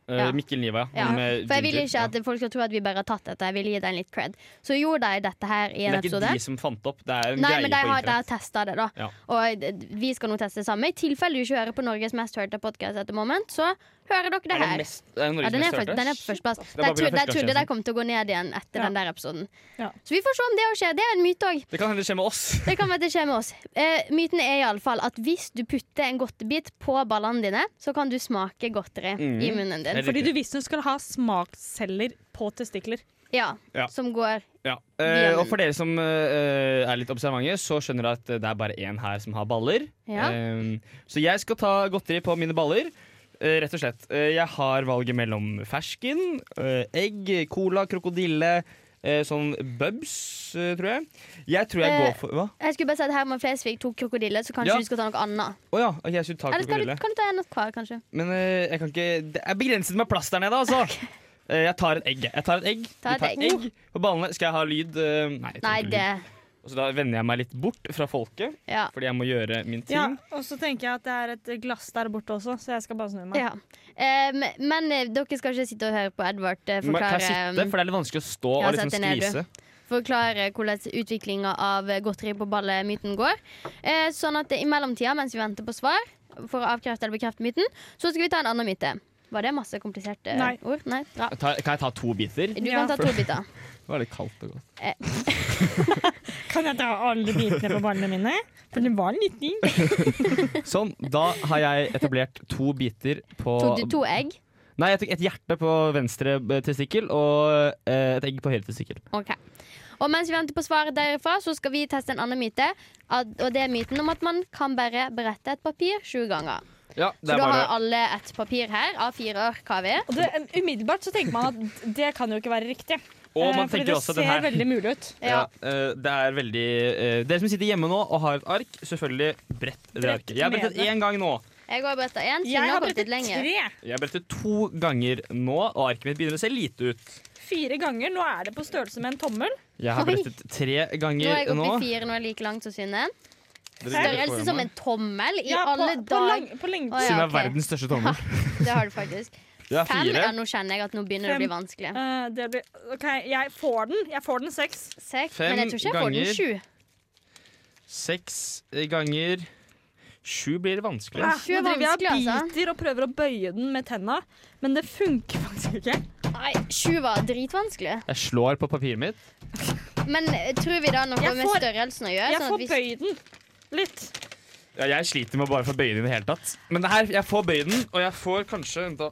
[SPEAKER 2] Eh,
[SPEAKER 3] Ja.
[SPEAKER 2] Mikkel Niva,
[SPEAKER 3] Ja,
[SPEAKER 2] med
[SPEAKER 3] For jeg vil
[SPEAKER 2] Ginger.
[SPEAKER 3] ikke at
[SPEAKER 2] Ja.
[SPEAKER 3] folk skal tro at vi bare har tatt dette. Jeg vil gi deg litt cred. Så gjorde de dette her i
[SPEAKER 2] Det
[SPEAKER 3] en
[SPEAKER 2] er ikke
[SPEAKER 3] episode.
[SPEAKER 2] de som fant opp, det er en
[SPEAKER 3] Nei,
[SPEAKER 2] greie
[SPEAKER 3] men de
[SPEAKER 2] på
[SPEAKER 3] har, de har
[SPEAKER 2] internett.
[SPEAKER 3] testa det, da.
[SPEAKER 2] Ja.
[SPEAKER 3] Og d- vi skal nå teste det samme. I tilfelle du ikke hører på Norges mest hørte podkast etter moment, så hører dere det
[SPEAKER 2] Er det
[SPEAKER 3] her.
[SPEAKER 2] mest, er det
[SPEAKER 3] Ja,
[SPEAKER 2] Norges
[SPEAKER 3] den, er
[SPEAKER 2] mest
[SPEAKER 3] for,
[SPEAKER 2] hørte?
[SPEAKER 3] den er på førsteplass.
[SPEAKER 2] er bare
[SPEAKER 3] De
[SPEAKER 2] på grunn av
[SPEAKER 3] tro- de trodde de
[SPEAKER 2] førstegangstjenesten.
[SPEAKER 3] kom til å gå ned igjen etter
[SPEAKER 1] Ja.
[SPEAKER 3] den der episoden.
[SPEAKER 1] Ja.
[SPEAKER 3] Så vi får se om det også skjer. Det er en myte òg.
[SPEAKER 2] Det kan hende skje med oss.
[SPEAKER 3] Det kan være det skjer med oss. Eh, myten er iallfall at hvis du putter en godtebit på ballene dine, så kan du smake godteri
[SPEAKER 2] Mm.
[SPEAKER 3] i munnen din.
[SPEAKER 2] Helt
[SPEAKER 1] Fordi
[SPEAKER 2] riktig.
[SPEAKER 1] du visste hun skulle ha smaksceller på testikler.
[SPEAKER 3] Ja,
[SPEAKER 2] Ja.
[SPEAKER 3] Som går
[SPEAKER 2] Ja. Eh, og for dere som eh, er litt observante, så skjønner dere at det er bare én her som har baller.
[SPEAKER 3] Ja.
[SPEAKER 2] Eh, så jeg skal ta godteri på mine baller. eh, rett og slett. Eh, jeg har valget mellom fersken, eh, egg, cola, krokodille, eh, sånn bubs, eh, tror jeg. Jeg tror jeg
[SPEAKER 3] Eh,
[SPEAKER 2] går for Hva?
[SPEAKER 3] Jeg skulle bare si at Herman Flesvig tok krokodille, så kanskje
[SPEAKER 2] Ja.
[SPEAKER 3] du skal ta noe annet.
[SPEAKER 2] Å ja, ok, jeg skulle ta
[SPEAKER 3] Eller skal du,
[SPEAKER 2] krokodille.
[SPEAKER 3] kan du ta en av hver, kanskje?
[SPEAKER 2] Men eh, jeg kan ikke Det er begrenset med plass der nede, altså. Eh, jeg tar et egg. Jeg tar et egg.
[SPEAKER 3] Ta
[SPEAKER 2] Vi tar
[SPEAKER 3] et egg.
[SPEAKER 2] På ballene. Skal jeg ha lyd? Eh, nei. jeg tar
[SPEAKER 3] Nei,
[SPEAKER 2] ikke lyd.
[SPEAKER 3] det
[SPEAKER 2] Og så da vender jeg meg litt bort fra folket,
[SPEAKER 3] Ja.
[SPEAKER 2] fordi jeg må gjøre min ting.
[SPEAKER 1] Ja, og så tenker jeg at det er et glass der borte også, så jeg skal bare snu meg.
[SPEAKER 3] ja. Em, men eh, dere skal ikke sitte og høre på Edvard eh,
[SPEAKER 2] Men kan jeg sitte?
[SPEAKER 3] forklare,
[SPEAKER 2] For det er litt vanskelig å stå
[SPEAKER 3] Ja,
[SPEAKER 2] og liksom
[SPEAKER 3] sett deg ned, du.
[SPEAKER 2] skvise.
[SPEAKER 3] forklare hvordan utviklinga av godteri på ballet-myten går. Eh, sånn at i mellomtida, mens vi venter på svar for å avkrefte eller bekrefte myten, så skal vi ta en annen myte. Var det masse kompliserte
[SPEAKER 1] Nei.
[SPEAKER 3] ord? Nei. Bra.
[SPEAKER 2] Jeg tar- Kan jeg ta to biter?
[SPEAKER 3] Du
[SPEAKER 1] Ja.
[SPEAKER 3] kan ta to biter.
[SPEAKER 2] Det var litt kaldt og godt.
[SPEAKER 1] Kan jeg ta alle bitene på ballene mine? For det var en liten
[SPEAKER 2] Sånn. Da har jeg etablert to biter på
[SPEAKER 3] To, to egg.
[SPEAKER 2] Nei, jeg tok et hjerte på venstre eh, testikkel og eh, et egg på høyre testikkel.
[SPEAKER 3] Ok. Og mens vi venter på svaret derifra, så skal vi teste en annen myte. At, og det er myten om at man kan bare berette et papir sju ganger.
[SPEAKER 2] Ja,
[SPEAKER 3] Så da har alle et papir her. A4 ark har vi.
[SPEAKER 1] Og det, umiddelbart så tenker man at det kan jo ikke være riktig.
[SPEAKER 2] Og man
[SPEAKER 1] Eh, fordi
[SPEAKER 2] tenker også
[SPEAKER 1] det ser
[SPEAKER 2] den her.
[SPEAKER 1] veldig mulig ut.
[SPEAKER 2] Ja. eh, det er veldig eh, Dere som sitter hjemme nå og har et ark, selvfølgelig brett det
[SPEAKER 1] Brett
[SPEAKER 2] arket. Jeg har brettet
[SPEAKER 1] ned.
[SPEAKER 2] én gang nå.
[SPEAKER 3] Jeg har bretta én, siden
[SPEAKER 1] Jeg har
[SPEAKER 3] gått litt
[SPEAKER 1] brettet
[SPEAKER 3] lenger.
[SPEAKER 1] tre.
[SPEAKER 2] Jeg har brettet to ganger nå, og arket mitt begynner å se lite ut.
[SPEAKER 1] Fire ganger. Nå er det på størrelse med en tommel.
[SPEAKER 2] Jeg har
[SPEAKER 3] Oi.
[SPEAKER 2] brettet tre
[SPEAKER 3] Nå er
[SPEAKER 2] ganger
[SPEAKER 3] jeg
[SPEAKER 2] nå.
[SPEAKER 3] oppe i fire, nå er jeg like langt som Synne.
[SPEAKER 2] Dere ser det
[SPEAKER 3] Størrelse
[SPEAKER 2] foran
[SPEAKER 3] som
[SPEAKER 2] meg.
[SPEAKER 3] en tommel i
[SPEAKER 1] Ja,
[SPEAKER 3] alle
[SPEAKER 1] på, på, lang,
[SPEAKER 3] dager.
[SPEAKER 1] på lengde.
[SPEAKER 3] Å, ja,
[SPEAKER 2] Siden det er
[SPEAKER 3] ok.
[SPEAKER 2] verdens største tommel.
[SPEAKER 3] Det har du faktisk.
[SPEAKER 2] Jeg har
[SPEAKER 3] Fem?
[SPEAKER 2] fire,
[SPEAKER 3] Ja, nå kjenner jeg at nå begynner det å bli vanskelig.
[SPEAKER 1] Eh, det blir, ok, jeg får den. Jeg får den seks.
[SPEAKER 3] Seks,
[SPEAKER 2] Fem
[SPEAKER 3] men jeg tror ikke jeg får
[SPEAKER 2] ganger.
[SPEAKER 3] den sju.
[SPEAKER 2] seks ganger Sju blir vanskelig.
[SPEAKER 1] Ah,
[SPEAKER 2] ass.
[SPEAKER 3] Sju er
[SPEAKER 1] nå driver jeg
[SPEAKER 3] vanskelig, altså.
[SPEAKER 1] og biter og prøver å bøye den med tenna, men det funker faktisk ikke.
[SPEAKER 3] Nei, sju var dritvanskelig.
[SPEAKER 2] Jeg slår på papiret mitt.
[SPEAKER 3] Men eh, tror vi da noe
[SPEAKER 1] Jeg
[SPEAKER 3] med
[SPEAKER 1] får-
[SPEAKER 3] størrelsen å gjøre?
[SPEAKER 1] Jeg
[SPEAKER 3] Sånn at
[SPEAKER 1] får
[SPEAKER 3] hvis,
[SPEAKER 1] bøyd den litt.
[SPEAKER 2] Ja, jeg sliter med å bare få bøye den i det hele tatt. Men det her, jeg får bøye den, og jeg får kanskje vent da.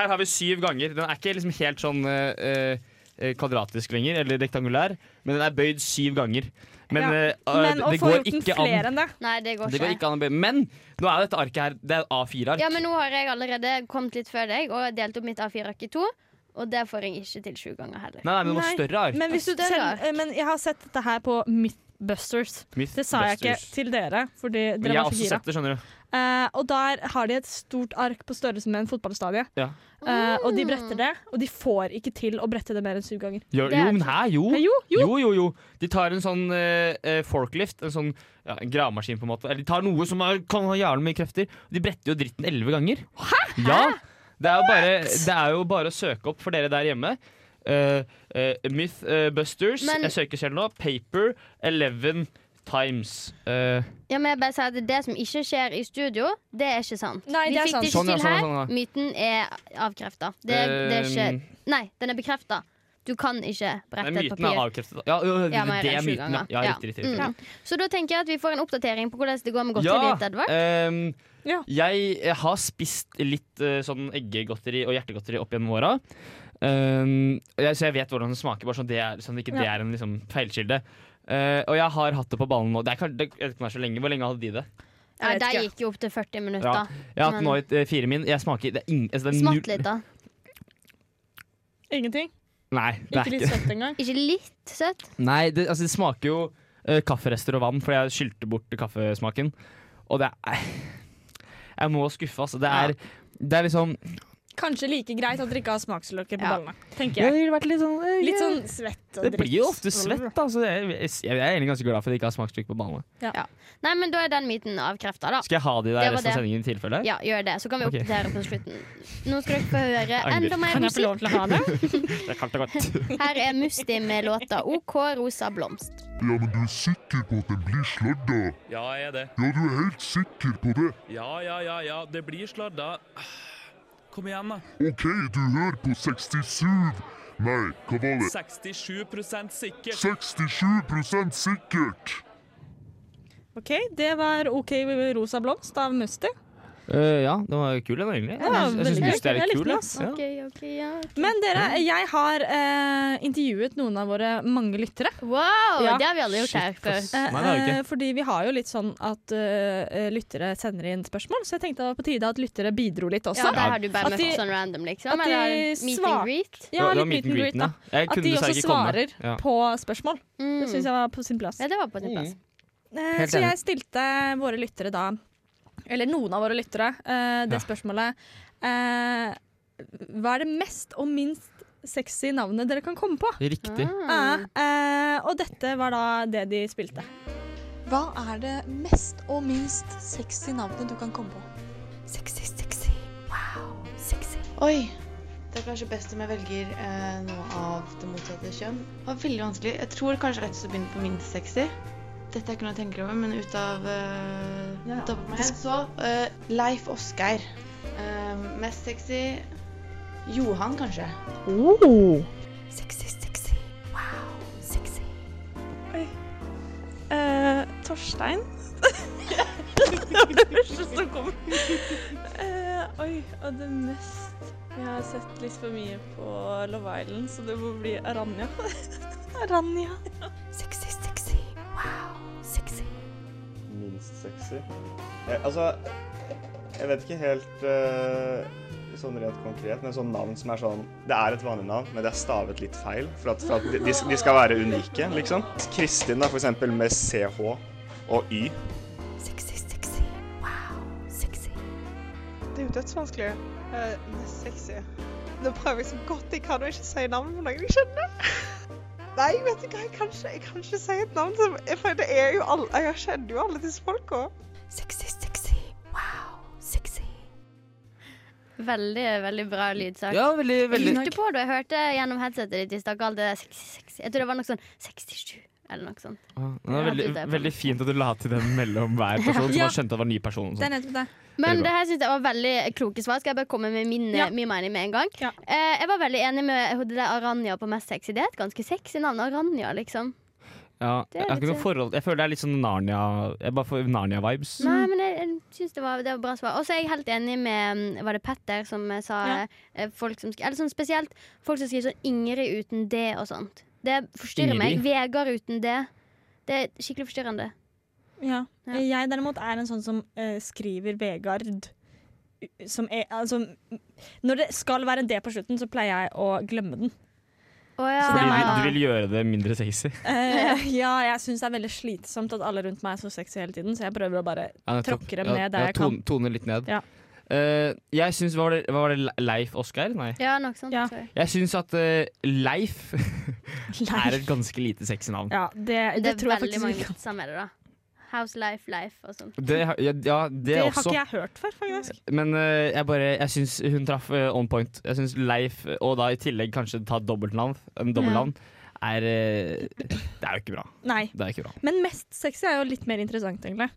[SPEAKER 2] Her har vi syv ganger. Den er ikke liksom helt sånn eh, eh, kvadratisk lenger, eller rektangulær, men den er bøyd syv ganger. Men,
[SPEAKER 1] Ja,
[SPEAKER 2] eh, eh,
[SPEAKER 1] Men å
[SPEAKER 2] det,
[SPEAKER 1] få
[SPEAKER 2] går
[SPEAKER 1] gjort den
[SPEAKER 2] ikke an,
[SPEAKER 1] flere enn det
[SPEAKER 3] nei, det går
[SPEAKER 2] det går
[SPEAKER 3] ikke.
[SPEAKER 2] ikke an å bøye. Men nå er dette arket her Det er A4-ark.
[SPEAKER 3] Ja, men nå har jeg allerede kommet litt før deg og delt opp mitt A4-ark i to. Og det får jeg ikke til sju ganger heller.
[SPEAKER 2] Nei, nei, men noe
[SPEAKER 1] Nei,
[SPEAKER 2] større ark.
[SPEAKER 1] Men, hvis du
[SPEAKER 3] Større
[SPEAKER 1] selv,
[SPEAKER 3] ark.
[SPEAKER 1] eh, men jeg har sett dette her på Mythbusters.
[SPEAKER 2] Myth
[SPEAKER 1] Det sa jeg ikke
[SPEAKER 2] busters.
[SPEAKER 1] til dere, fordi
[SPEAKER 2] Men
[SPEAKER 1] dere
[SPEAKER 2] jeg har
[SPEAKER 1] var
[SPEAKER 2] også
[SPEAKER 1] så gira.
[SPEAKER 2] sett det, skjønner du.
[SPEAKER 1] Eh, og der har de et stort ark på størrelse med en fotballstadie.
[SPEAKER 2] Ja.
[SPEAKER 1] Eh, og de bretter det, og de får ikke til å brette det mer enn syv ganger.
[SPEAKER 2] Jo,
[SPEAKER 3] Det er
[SPEAKER 2] jo, men hæ, jo.
[SPEAKER 1] Eh, jo, jo.
[SPEAKER 2] Jo, jo, jo. De tar en sånn eh, eh, forklift, en sånn ja, en gravemaskin på en måte. Eller de tar noe som er, kan ha jævlig mye krefter. De bretter jo dritten elleve ganger. Hæ? Ja. Det er, jo bare, det er jo bare å søke opp for dere der hjemme. Eh, eh, Mythbusters.
[SPEAKER 3] Men-
[SPEAKER 2] jeg søker selv nå. Paper 11 times. Eh,
[SPEAKER 3] Ja, men jeg bare sier at Det som ikke skjer i studio, det er ikke sant.
[SPEAKER 1] Nei,
[SPEAKER 3] Vi
[SPEAKER 1] det er
[SPEAKER 3] fikk
[SPEAKER 1] sant.
[SPEAKER 3] det ikke
[SPEAKER 2] Sånn, ja,
[SPEAKER 3] til
[SPEAKER 2] sånn,
[SPEAKER 3] her.
[SPEAKER 2] sånn, ja.
[SPEAKER 3] Myten er avkrefta. Det, det er
[SPEAKER 2] ehm,
[SPEAKER 3] ikke Nei, den er bekrefta. Du kan ikke brette
[SPEAKER 2] nei,
[SPEAKER 3] et
[SPEAKER 2] Eh, myten er
[SPEAKER 3] papir.
[SPEAKER 2] avkreftet. Ja, jo, jo,
[SPEAKER 3] Ja, mer
[SPEAKER 2] det er
[SPEAKER 3] enn sju
[SPEAKER 2] myten, ja.
[SPEAKER 3] ganger.
[SPEAKER 2] ja
[SPEAKER 3] Ja.
[SPEAKER 2] riktig, riktig, riktig.
[SPEAKER 3] Mm. Så da tenker jeg at vi får en oppdatering på hvordan det går med
[SPEAKER 2] Ja,
[SPEAKER 3] godteriet ditt, Edvard.
[SPEAKER 2] ehm,
[SPEAKER 1] Ja.
[SPEAKER 2] Jeg eh, har spist litt eh, sånn eggegodteri og hjertegodteri opp gjennom åra. Ehm, og jeg, så jeg vet hvordan det smaker, bare sånn, det er, sånn at ikke det
[SPEAKER 1] Ja.
[SPEAKER 2] er en liksom, feilkilde. Eh, og jeg har hatt det på ballen nå. Det er, kan- det, jeg vet ikke om det er så lenge. Hvor lenge hadde de det?
[SPEAKER 3] Ja,
[SPEAKER 1] Jeg vet
[SPEAKER 3] De
[SPEAKER 1] ikke.
[SPEAKER 3] gikk jo opp til 40
[SPEAKER 2] Ja.
[SPEAKER 3] minutter.
[SPEAKER 2] Jeg har hatt det
[SPEAKER 3] Men-
[SPEAKER 2] nå i eh, fire min. Jeg smaker det er ing, altså, det er
[SPEAKER 3] Smatt
[SPEAKER 2] null-
[SPEAKER 3] litt, da.
[SPEAKER 1] Ingenting.
[SPEAKER 2] Nei, det
[SPEAKER 1] Ikke
[SPEAKER 2] er
[SPEAKER 1] litt
[SPEAKER 2] ikke
[SPEAKER 1] søtt engang.
[SPEAKER 3] Ikke litt søtt?
[SPEAKER 2] Nei, det, altså, det smaker jo eh, kafferester og vann, for jeg skylte bort kaffesmaken. Og det er Jeg må skuffe, altså. Det er, det er liksom
[SPEAKER 1] Kanskje like greit at dere ikke har smaksløker på
[SPEAKER 3] Ja.
[SPEAKER 1] ballene. Tenker jeg.
[SPEAKER 2] det ville vært litt sånn eh,
[SPEAKER 1] Litt
[SPEAKER 2] yeah.
[SPEAKER 1] sånn svett og
[SPEAKER 2] Det
[SPEAKER 1] dritt.
[SPEAKER 2] blir jo ofte svett, da. Så jeg, jeg, jeg er egentlig ganske glad for at jeg ikke har smaksløk på ballene.
[SPEAKER 3] Nei, men da er den myten avkrefta, da.
[SPEAKER 2] Skal jeg ha de der
[SPEAKER 3] Det var
[SPEAKER 2] resten av
[SPEAKER 3] det.
[SPEAKER 2] sendingen i tilfelle?
[SPEAKER 3] Ja, gjør det. Så kan vi
[SPEAKER 2] Ok.
[SPEAKER 3] oppdatere på slutten. Nå skal dere få høre
[SPEAKER 2] Angrer.
[SPEAKER 3] enda mer
[SPEAKER 1] Kan jeg få
[SPEAKER 3] musikk.
[SPEAKER 1] lov til å ha det?
[SPEAKER 2] Det er kaldt og godt.
[SPEAKER 3] Her er Musti med låta OK rosa blomst.
[SPEAKER 6] Ja, men du er sikker på at den blir sladda?
[SPEAKER 5] Ja, jeg er det.
[SPEAKER 6] Ja, du er helt sikker på det?
[SPEAKER 5] Ja, ja, ja, ja. Det blir sladda. Kom igjen, da.
[SPEAKER 6] OK, du hører på 67 Nei, hva var det?
[SPEAKER 5] 67 sikker.
[SPEAKER 6] 67 sikkert!
[SPEAKER 1] OK, det var OK rosa blomst av Musti.
[SPEAKER 2] Eh, ja, den var kul, den egentlig.
[SPEAKER 1] Ja,
[SPEAKER 2] Jeg syns- jeg
[SPEAKER 1] veldig
[SPEAKER 2] syns det
[SPEAKER 1] kul.
[SPEAKER 2] er
[SPEAKER 1] Jeg
[SPEAKER 2] litt kul.
[SPEAKER 1] likte den,
[SPEAKER 2] jeg.
[SPEAKER 1] ass.
[SPEAKER 3] altså.
[SPEAKER 2] Ja.
[SPEAKER 3] OK, OK, ja.
[SPEAKER 1] Men dere, jeg har eh, intervjuet noen av våre mange lyttere.
[SPEAKER 3] Wow,
[SPEAKER 1] Ja.
[SPEAKER 3] det har vi alle gjort her
[SPEAKER 2] Shit,
[SPEAKER 3] før.
[SPEAKER 2] ass. Nei, det har vi ikke.
[SPEAKER 1] Eh, fordi vi har jo litt sånn at eh, lyttere sender inn spørsmål, så jeg tenkte det var på tide at lyttere bidro litt
[SPEAKER 3] Ja,
[SPEAKER 1] også.
[SPEAKER 3] der har du bare
[SPEAKER 1] At
[SPEAKER 3] møtt
[SPEAKER 1] de-
[SPEAKER 3] sånn random, liksom?
[SPEAKER 1] at de
[SPEAKER 3] Eller meet and
[SPEAKER 1] svar-
[SPEAKER 3] greet?
[SPEAKER 1] Ja,
[SPEAKER 2] Det var
[SPEAKER 1] litt
[SPEAKER 2] meet
[SPEAKER 1] meet
[SPEAKER 2] and
[SPEAKER 1] and
[SPEAKER 2] greet,
[SPEAKER 1] greet, da.
[SPEAKER 2] ja. Jeg
[SPEAKER 1] At
[SPEAKER 2] kunne
[SPEAKER 1] de
[SPEAKER 2] dessverre
[SPEAKER 1] også
[SPEAKER 2] ikke komme.
[SPEAKER 1] svarer
[SPEAKER 2] Ja.
[SPEAKER 1] på spørsmål. Det
[SPEAKER 3] Mm.
[SPEAKER 1] syns jeg var på sin plass.
[SPEAKER 3] Ja, det var på
[SPEAKER 2] Mm,
[SPEAKER 3] sin plass.
[SPEAKER 1] Eh,
[SPEAKER 2] Helt
[SPEAKER 1] så
[SPEAKER 2] enig.
[SPEAKER 1] jeg stilte våre lyttere da, eller noen av våre lyttere, eh, det
[SPEAKER 2] Ja.
[SPEAKER 1] spørsmålet eh, Hva er det mest og minst sexy navnet dere kan komme på?
[SPEAKER 2] Riktig.
[SPEAKER 1] Ja,
[SPEAKER 3] Ah.
[SPEAKER 7] Mm.
[SPEAKER 1] eh, og dette var da det de spilte.
[SPEAKER 7] Hva er det mest og minst sexy navnet du kan komme på?
[SPEAKER 1] Sexy, sexy. Wow, sexy.
[SPEAKER 8] Oi. Det er kanskje best om jeg velger eh, noe av det motsatte kjønn. Det var veldig vanskelig. Jeg tror kanskje rett og slett å begynne på minst sexy. Dette er ikke noe jeg tenker over, men ut av eh, ut av meg så eh, Leif Osgeir. Eh, mest sexy Johan, kanskje.
[SPEAKER 1] Sexy, sexy. Wow, sexy.
[SPEAKER 9] Eh, Torstein. det var det første som kom. Eh, oi, og det mest Jeg har sett litt for mye på Love Island, så det må bli Aranja. Aranja.
[SPEAKER 1] Sexy, sexy. Wow, sexy.
[SPEAKER 10] Minst sexy. Jeg, altså, jeg vet ikke helt eh, sånn rent konkret, men sånn navn som er sånn Det er et vanlig navn, men det er stavet litt feil, for at, for at de, de, de skal være unike, liksom. Kristin, da, for eksempel, med CH og Y.
[SPEAKER 1] Sexy, sexy. Wow, sexy.
[SPEAKER 9] Det er jo dødsvanskelig. Eh, mest sexy. Nå prøver jeg så godt jeg kan å ikke si navn på noen jeg kjenner. Nei, vet du hva, jeg kan ikke, jeg kan ikke si et navn som For det er jo alle, jeg kjenner jo alle disse folka.
[SPEAKER 1] Sexy, sexy. Wow, sexy.
[SPEAKER 3] Veldig, veldig bra lydsak.
[SPEAKER 2] Ja, veldig,
[SPEAKER 3] Jeg
[SPEAKER 2] veldig
[SPEAKER 3] lurte på det, jeg hørte gjennom headsetet ditt i stad. Alt det der sexy, sexy. Jeg tror det var noe sånn 67 eller noe sånt.
[SPEAKER 2] Ah, Det var
[SPEAKER 3] Ja,
[SPEAKER 2] veldig,
[SPEAKER 3] det er bra.
[SPEAKER 2] veldig fint at du la til den mellom hver person, så
[SPEAKER 1] Ja.
[SPEAKER 2] man skjønte at det var en ny person. og sånn.
[SPEAKER 1] Det er
[SPEAKER 2] sånt.
[SPEAKER 1] nettopp det.
[SPEAKER 3] Men
[SPEAKER 2] Veldig bra.
[SPEAKER 3] det her synes jeg var veldig kloke svar. Skal jeg bare komme med min,
[SPEAKER 1] Ja.
[SPEAKER 3] min mening med en gang?
[SPEAKER 1] Ja.
[SPEAKER 3] Eh, jeg var veldig enig med det der Aranja på mest sexy. Det er et ganske sexy navn. Aranja, liksom.
[SPEAKER 2] Ja,
[SPEAKER 3] Det er
[SPEAKER 2] jeg, har ikke
[SPEAKER 3] litt-
[SPEAKER 2] noe forhold. jeg føler det er litt sånn Narnia Jeg bare får Narnia-vibes.
[SPEAKER 3] Nei, men jeg, jeg synes det var, det var bra svar. Og så er jeg helt enig med mm, Var det Petter som eh, sa
[SPEAKER 1] Ja.
[SPEAKER 3] eh, folk som, sk- Eller sånn spesielt folk som skriver sånn Ingrid uten det og sånt. Det forstyrrer meg.
[SPEAKER 2] Ingrid?
[SPEAKER 3] Vegard uten det. Det er skikkelig forstyrrende.
[SPEAKER 1] Ja. Eh,
[SPEAKER 3] Ja.
[SPEAKER 1] Jeg derimot er en sånn som eh, skriver Vegard. u- Som er, altså, når det skal være en D på slutten, så pleier jeg å glemme den.
[SPEAKER 3] Å ja.
[SPEAKER 2] Fordi du, du vil gjøre det mindre sexy.
[SPEAKER 1] Eh, ja, jeg syns det er veldig slitsomt at alle rundt meg er så sexy hele tiden, så jeg prøver å bare
[SPEAKER 2] Ja, nettopp.
[SPEAKER 1] Tråkker dem
[SPEAKER 2] Ja,
[SPEAKER 1] ned der
[SPEAKER 2] ja,
[SPEAKER 1] jeg kan.
[SPEAKER 2] tone- Tone litt ned.
[SPEAKER 1] Ja.
[SPEAKER 2] Eh, jeg syns Hva var det, hva var det Leif Oskar? Nei.
[SPEAKER 3] Ja, noe sånt.
[SPEAKER 1] Ja.
[SPEAKER 3] tror jeg.
[SPEAKER 2] Jeg syns at eh, Leif er et ganske lite sexy navn.
[SPEAKER 1] Ja, det, det,
[SPEAKER 3] Det,
[SPEAKER 1] tror
[SPEAKER 3] er
[SPEAKER 1] jeg
[SPEAKER 3] veldig
[SPEAKER 1] faktisk
[SPEAKER 3] mange
[SPEAKER 1] ikke.
[SPEAKER 3] vitser med det, da. House Life Life og sånn.
[SPEAKER 2] Det, har- ja, ja, det,
[SPEAKER 1] Det har
[SPEAKER 2] også.
[SPEAKER 1] ikke jeg hørt før, faktisk.
[SPEAKER 2] Men eh, jeg bare Jeg syns hun traff eh, on point. Jeg syns Leif, eh, og da i tillegg kanskje ta dobbeltnavn,
[SPEAKER 1] Mm.
[SPEAKER 2] en dobbeltnavn, er eh, Det er jo ikke bra.
[SPEAKER 1] Nei.
[SPEAKER 2] Det er ikke bra.
[SPEAKER 1] Men mest sexy er jo litt mer interessant, egentlig.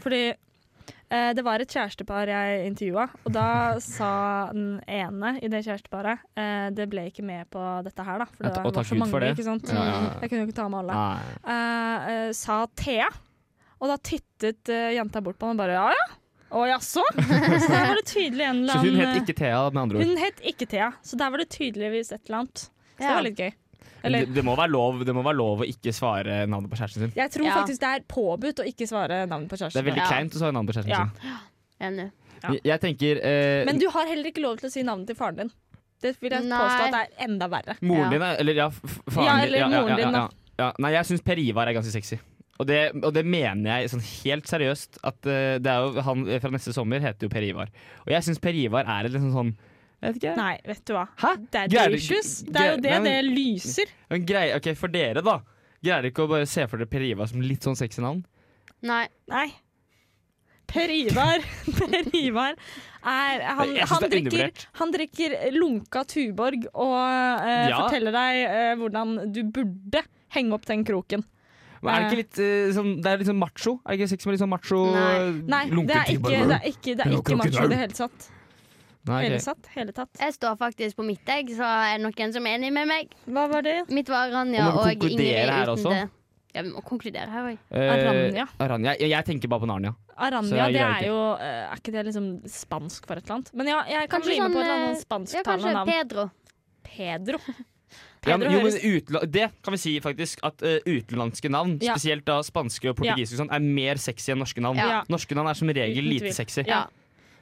[SPEAKER 1] Fordi eh, det var et kjærestepar jeg intervjua, og da sa den ene i det kjæresteparet eh, Det ble ikke med på dette her, da. For
[SPEAKER 2] Ja,
[SPEAKER 1] det
[SPEAKER 2] og
[SPEAKER 1] var
[SPEAKER 2] takk
[SPEAKER 1] så
[SPEAKER 2] Gud
[SPEAKER 1] mange,
[SPEAKER 2] for det.
[SPEAKER 1] ikke sant. Mm,
[SPEAKER 2] Ja, ja, ja.
[SPEAKER 1] Jeg kunne jo ikke ta med alle.
[SPEAKER 2] Nei.
[SPEAKER 1] Eh, eh, sa Thea, og da tittet eh, jenta bort på han og bare Ja ja? Å jaså? Så der var det tydelig en
[SPEAKER 2] Så
[SPEAKER 1] eller
[SPEAKER 2] hun
[SPEAKER 1] annen eh,
[SPEAKER 2] het ikke Thea, med andre ord.
[SPEAKER 1] Hun het ikke Thea, så der var det tydeligvis et eller annet. Så det
[SPEAKER 3] Ja.
[SPEAKER 1] var litt gøy. Eller
[SPEAKER 2] det, det, må være lov, det må være lov å ikke svare navnet på kjæresten sin.
[SPEAKER 1] jeg tror
[SPEAKER 3] Ja.
[SPEAKER 1] faktisk det er påbudt å ikke svare navnet på
[SPEAKER 2] Det er
[SPEAKER 1] kjæresten.
[SPEAKER 2] veldig
[SPEAKER 3] Ja.
[SPEAKER 2] kleint å svare navnet på kjæresten
[SPEAKER 1] Ja.
[SPEAKER 2] sin.
[SPEAKER 3] Enig.
[SPEAKER 1] Ja.
[SPEAKER 2] Jeg, jeg tenker eh,
[SPEAKER 1] Men du har heller ikke lov til å si navnet til faren din. Det vil jeg påstå
[SPEAKER 3] Nei.
[SPEAKER 1] at det er enda verre.
[SPEAKER 2] Moren
[SPEAKER 3] Ja.
[SPEAKER 2] din, er- eller ja, f- f- faren
[SPEAKER 1] Ja,
[SPEAKER 2] din-
[SPEAKER 1] eller moren din, da.
[SPEAKER 2] ja. Nei, jeg syns Per Ivar er ganske sexy. Og det, og det mener jeg sånn helt seriøst. At eh, det er jo han eh, fra neste sommer heter jo Per Ivar. Og jeg syns Per Ivar er et liksom sånn Jeg vet ikke.
[SPEAKER 1] Nei, vet du hva.
[SPEAKER 2] Hæ?
[SPEAKER 1] Det er
[SPEAKER 2] Greier-
[SPEAKER 1] douches. Det er jo det
[SPEAKER 2] Nei,
[SPEAKER 1] det
[SPEAKER 2] men-
[SPEAKER 1] lyser.
[SPEAKER 2] Men grei, ok, For dere, da. Greier dere ikke å bare se for dere Per Ivar som litt sånn sexy navn?
[SPEAKER 3] Nei.
[SPEAKER 1] Nei. Per Ivar Per Ivar er Han,
[SPEAKER 2] Jeg synes
[SPEAKER 1] han,
[SPEAKER 2] det er
[SPEAKER 1] drikker,
[SPEAKER 2] undervurdert.
[SPEAKER 1] han drikker lunka Tuborg og eh,
[SPEAKER 2] Ja.
[SPEAKER 1] forteller deg eh, hvordan du burde henge opp den kroken.
[SPEAKER 2] Men er det ikke litt eh, sånn Det er litt sånn macho? Er det ikke sexy med litt sånn macho
[SPEAKER 1] Nei, det er ikke, det er ikke, det er ikke macho i det hele tatt.
[SPEAKER 2] Nei, ok.
[SPEAKER 1] Hele tatt. Hele tatt.
[SPEAKER 3] Jeg står faktisk på mitt, jeg, så er det noen som er enig med meg.
[SPEAKER 1] Hva var det?
[SPEAKER 3] Mitt var Ranja
[SPEAKER 2] Og må vi
[SPEAKER 3] og Ingrid
[SPEAKER 2] konkludere her
[SPEAKER 3] uten
[SPEAKER 2] også?
[SPEAKER 3] det. Ja, vi må konkludere her òg.
[SPEAKER 2] Eh,
[SPEAKER 1] Aranya.
[SPEAKER 2] Aranya. Jeg, jeg tenker bare på Narnia. Så
[SPEAKER 1] Aranya,
[SPEAKER 2] jeg
[SPEAKER 1] det
[SPEAKER 2] greier
[SPEAKER 1] er jo eh, Er ikke det liksom spansk for et eller annet? Men ja, jeg kan
[SPEAKER 3] Kanskje
[SPEAKER 1] bli med på et eller
[SPEAKER 3] sånn,
[SPEAKER 1] annet
[SPEAKER 3] eh, Ja,
[SPEAKER 1] spansktalende
[SPEAKER 3] kanskje
[SPEAKER 1] navn.
[SPEAKER 3] Pedro.
[SPEAKER 1] Pedro.
[SPEAKER 2] Ja, men, jo, men
[SPEAKER 1] høres-
[SPEAKER 2] utla det kan vi si faktisk at eh, utenlandske navn,
[SPEAKER 1] Ja.
[SPEAKER 2] spesielt da spanske og portugisiske, og sånn, er mer sexy enn norske navn.
[SPEAKER 1] Ja.
[SPEAKER 2] Norske navn er som regel
[SPEAKER 1] Uten tvil.
[SPEAKER 2] lite sexy.
[SPEAKER 1] Ja.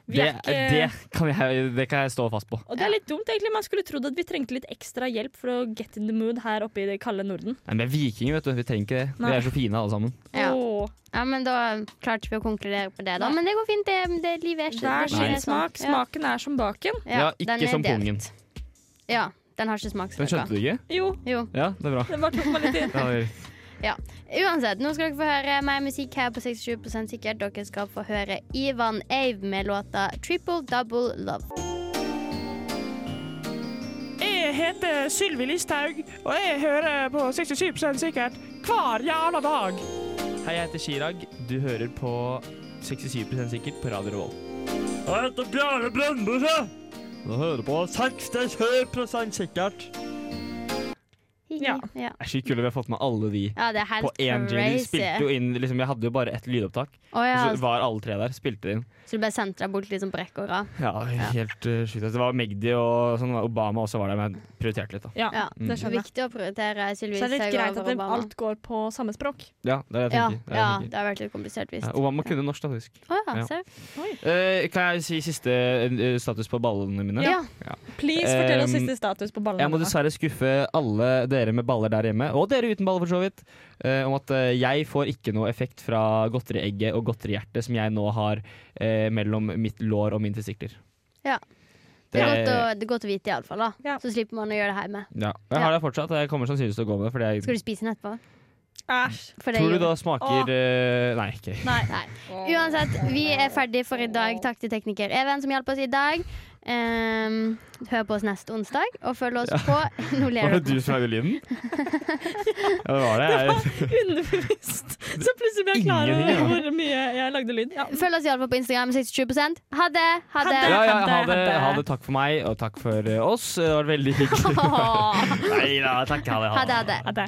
[SPEAKER 1] Vi
[SPEAKER 2] Det,
[SPEAKER 1] er ikke-
[SPEAKER 2] det, kan jeg, det kan jeg stå fast på.
[SPEAKER 1] Og det er litt dumt, egentlig. Man skulle trodd at vi trengte litt ekstra hjelp for å get in the mood her oppe i det kalde Norden.
[SPEAKER 2] Nei, men vikinger, vet du. Vi trenger ikke det.
[SPEAKER 1] Nei.
[SPEAKER 2] Vi er så fine alle sammen.
[SPEAKER 3] Ja.
[SPEAKER 1] Åh,
[SPEAKER 3] Ja, men da klarte vi å konkludere på det, da. Men det går fint. Det, det livet er ikke
[SPEAKER 1] Hver
[SPEAKER 3] det skjer
[SPEAKER 2] Nei.
[SPEAKER 1] sin
[SPEAKER 3] sånn.
[SPEAKER 1] smak.
[SPEAKER 3] Ja.
[SPEAKER 1] Smaken er som baken.
[SPEAKER 2] Ja,
[SPEAKER 3] den er
[SPEAKER 2] ikke som
[SPEAKER 3] delt.
[SPEAKER 2] pungen.
[SPEAKER 3] Ja, den har ikke smak.
[SPEAKER 2] Den skjønte du ikke?
[SPEAKER 1] Jo,
[SPEAKER 3] Jo.
[SPEAKER 2] Ja, det er bra.
[SPEAKER 1] det bare tok meg litt inn.
[SPEAKER 2] Ja, det er-
[SPEAKER 3] Uansett, nå skal dere få høre mer musikk her på 67 sikkert. Dere skal få høre Ivan Ave med låta 'Triple Double Love'.
[SPEAKER 11] Jeg heter Sylvi Listhaug, og jeg hører på 67 sikkert hver jævla dag.
[SPEAKER 2] Hei, jeg heter Chirag. Du hører på 67 sikkert på Radio Revolt.
[SPEAKER 12] Jeg heter Bjarne Brøndbøse. Nå hører på 67 sikkert.
[SPEAKER 3] Ja. ja.
[SPEAKER 2] Det er så kult vi har fått med alle de
[SPEAKER 3] Ja, det er helt
[SPEAKER 2] på én jingle. De
[SPEAKER 3] crazy.
[SPEAKER 2] Spilte jo Altså, inn, liksom, jeg hadde jo bare ett lydopptak,
[SPEAKER 3] Å, ja.
[SPEAKER 2] og så var alle tre der. Spilte det inn.
[SPEAKER 3] Så du ble sendt deg bort liksom på rekke og rad.
[SPEAKER 2] Ja, helt uh, sjukt. Det var Magdi og sånn, Obama også var der, men jeg prioriterte litt. da.
[SPEAKER 1] Ja,
[SPEAKER 3] Ja.
[SPEAKER 2] Mm.
[SPEAKER 1] det skjønner jeg.
[SPEAKER 3] Viktig å prioritere Sylvi
[SPEAKER 1] Så er det litt
[SPEAKER 3] Listhaug
[SPEAKER 1] greit
[SPEAKER 3] over
[SPEAKER 1] at det,
[SPEAKER 3] Obama.
[SPEAKER 1] alt går på samme språk.
[SPEAKER 2] Ja, det er det jeg
[SPEAKER 3] ja,
[SPEAKER 2] tenker. Det er det
[SPEAKER 3] ja,
[SPEAKER 2] jeg
[SPEAKER 3] det
[SPEAKER 2] tenker.
[SPEAKER 3] har vært litt komplisert visst.
[SPEAKER 2] Ja, Obama kunne norsk, da, faktisk.
[SPEAKER 3] Å ja,
[SPEAKER 2] Ja.
[SPEAKER 3] ser du.
[SPEAKER 2] Eh, kan jeg si siste eh, status på ballene mine?
[SPEAKER 3] Ja.
[SPEAKER 1] Please, fortell oss
[SPEAKER 2] Um,
[SPEAKER 1] siste status på ballene.
[SPEAKER 2] Jeg må
[SPEAKER 1] dine.
[SPEAKER 2] dessverre skuffe alle dere med baller der hjemme, og dere uten baller for så vidt, eh, om at eh, jeg får ikke noe effekt fra godteriegget og godterihjertet som jeg nå har eh, mellom mitt lår og mine testikler.
[SPEAKER 3] Ja. Det er godt å, det er godt å vite iallfall, da. Så slipper man å gjøre det hjemme.
[SPEAKER 2] ja. Jeg har det fortsatt, og jeg kommer sannsynligvis til å gå med det. Fordi
[SPEAKER 3] Skal
[SPEAKER 2] jeg,
[SPEAKER 3] du spise den etterpå?
[SPEAKER 1] Æsj.
[SPEAKER 3] For det
[SPEAKER 2] tror du
[SPEAKER 3] gjorde-
[SPEAKER 2] da smaker eh, Nei, ikke
[SPEAKER 3] Nei. Uansett, vi er ferdig for i dag. Takk til tekniker Even som hjalp oss i dag. Ehm, hør på oss neste onsdag, og følg oss på Nå ler
[SPEAKER 2] Var
[SPEAKER 3] dere.
[SPEAKER 2] det du som lagde lyden? ja, det var det. Jeg,
[SPEAKER 1] Underbevisst. Så plutselig ble jeg klar over
[SPEAKER 2] Ingenting, ja.
[SPEAKER 1] hvor mye jeg lagde lyd. Ja.
[SPEAKER 3] Følg oss iallfall på Instagram 67 Ha det! Ha det!
[SPEAKER 2] ja, ja, ha det, ha det. Takk for meg, og takk for eh, oss. Det var veldig hyggelig. Nei da, takk. Ha det.
[SPEAKER 3] Ha det, ha det.
[SPEAKER 1] Ha det.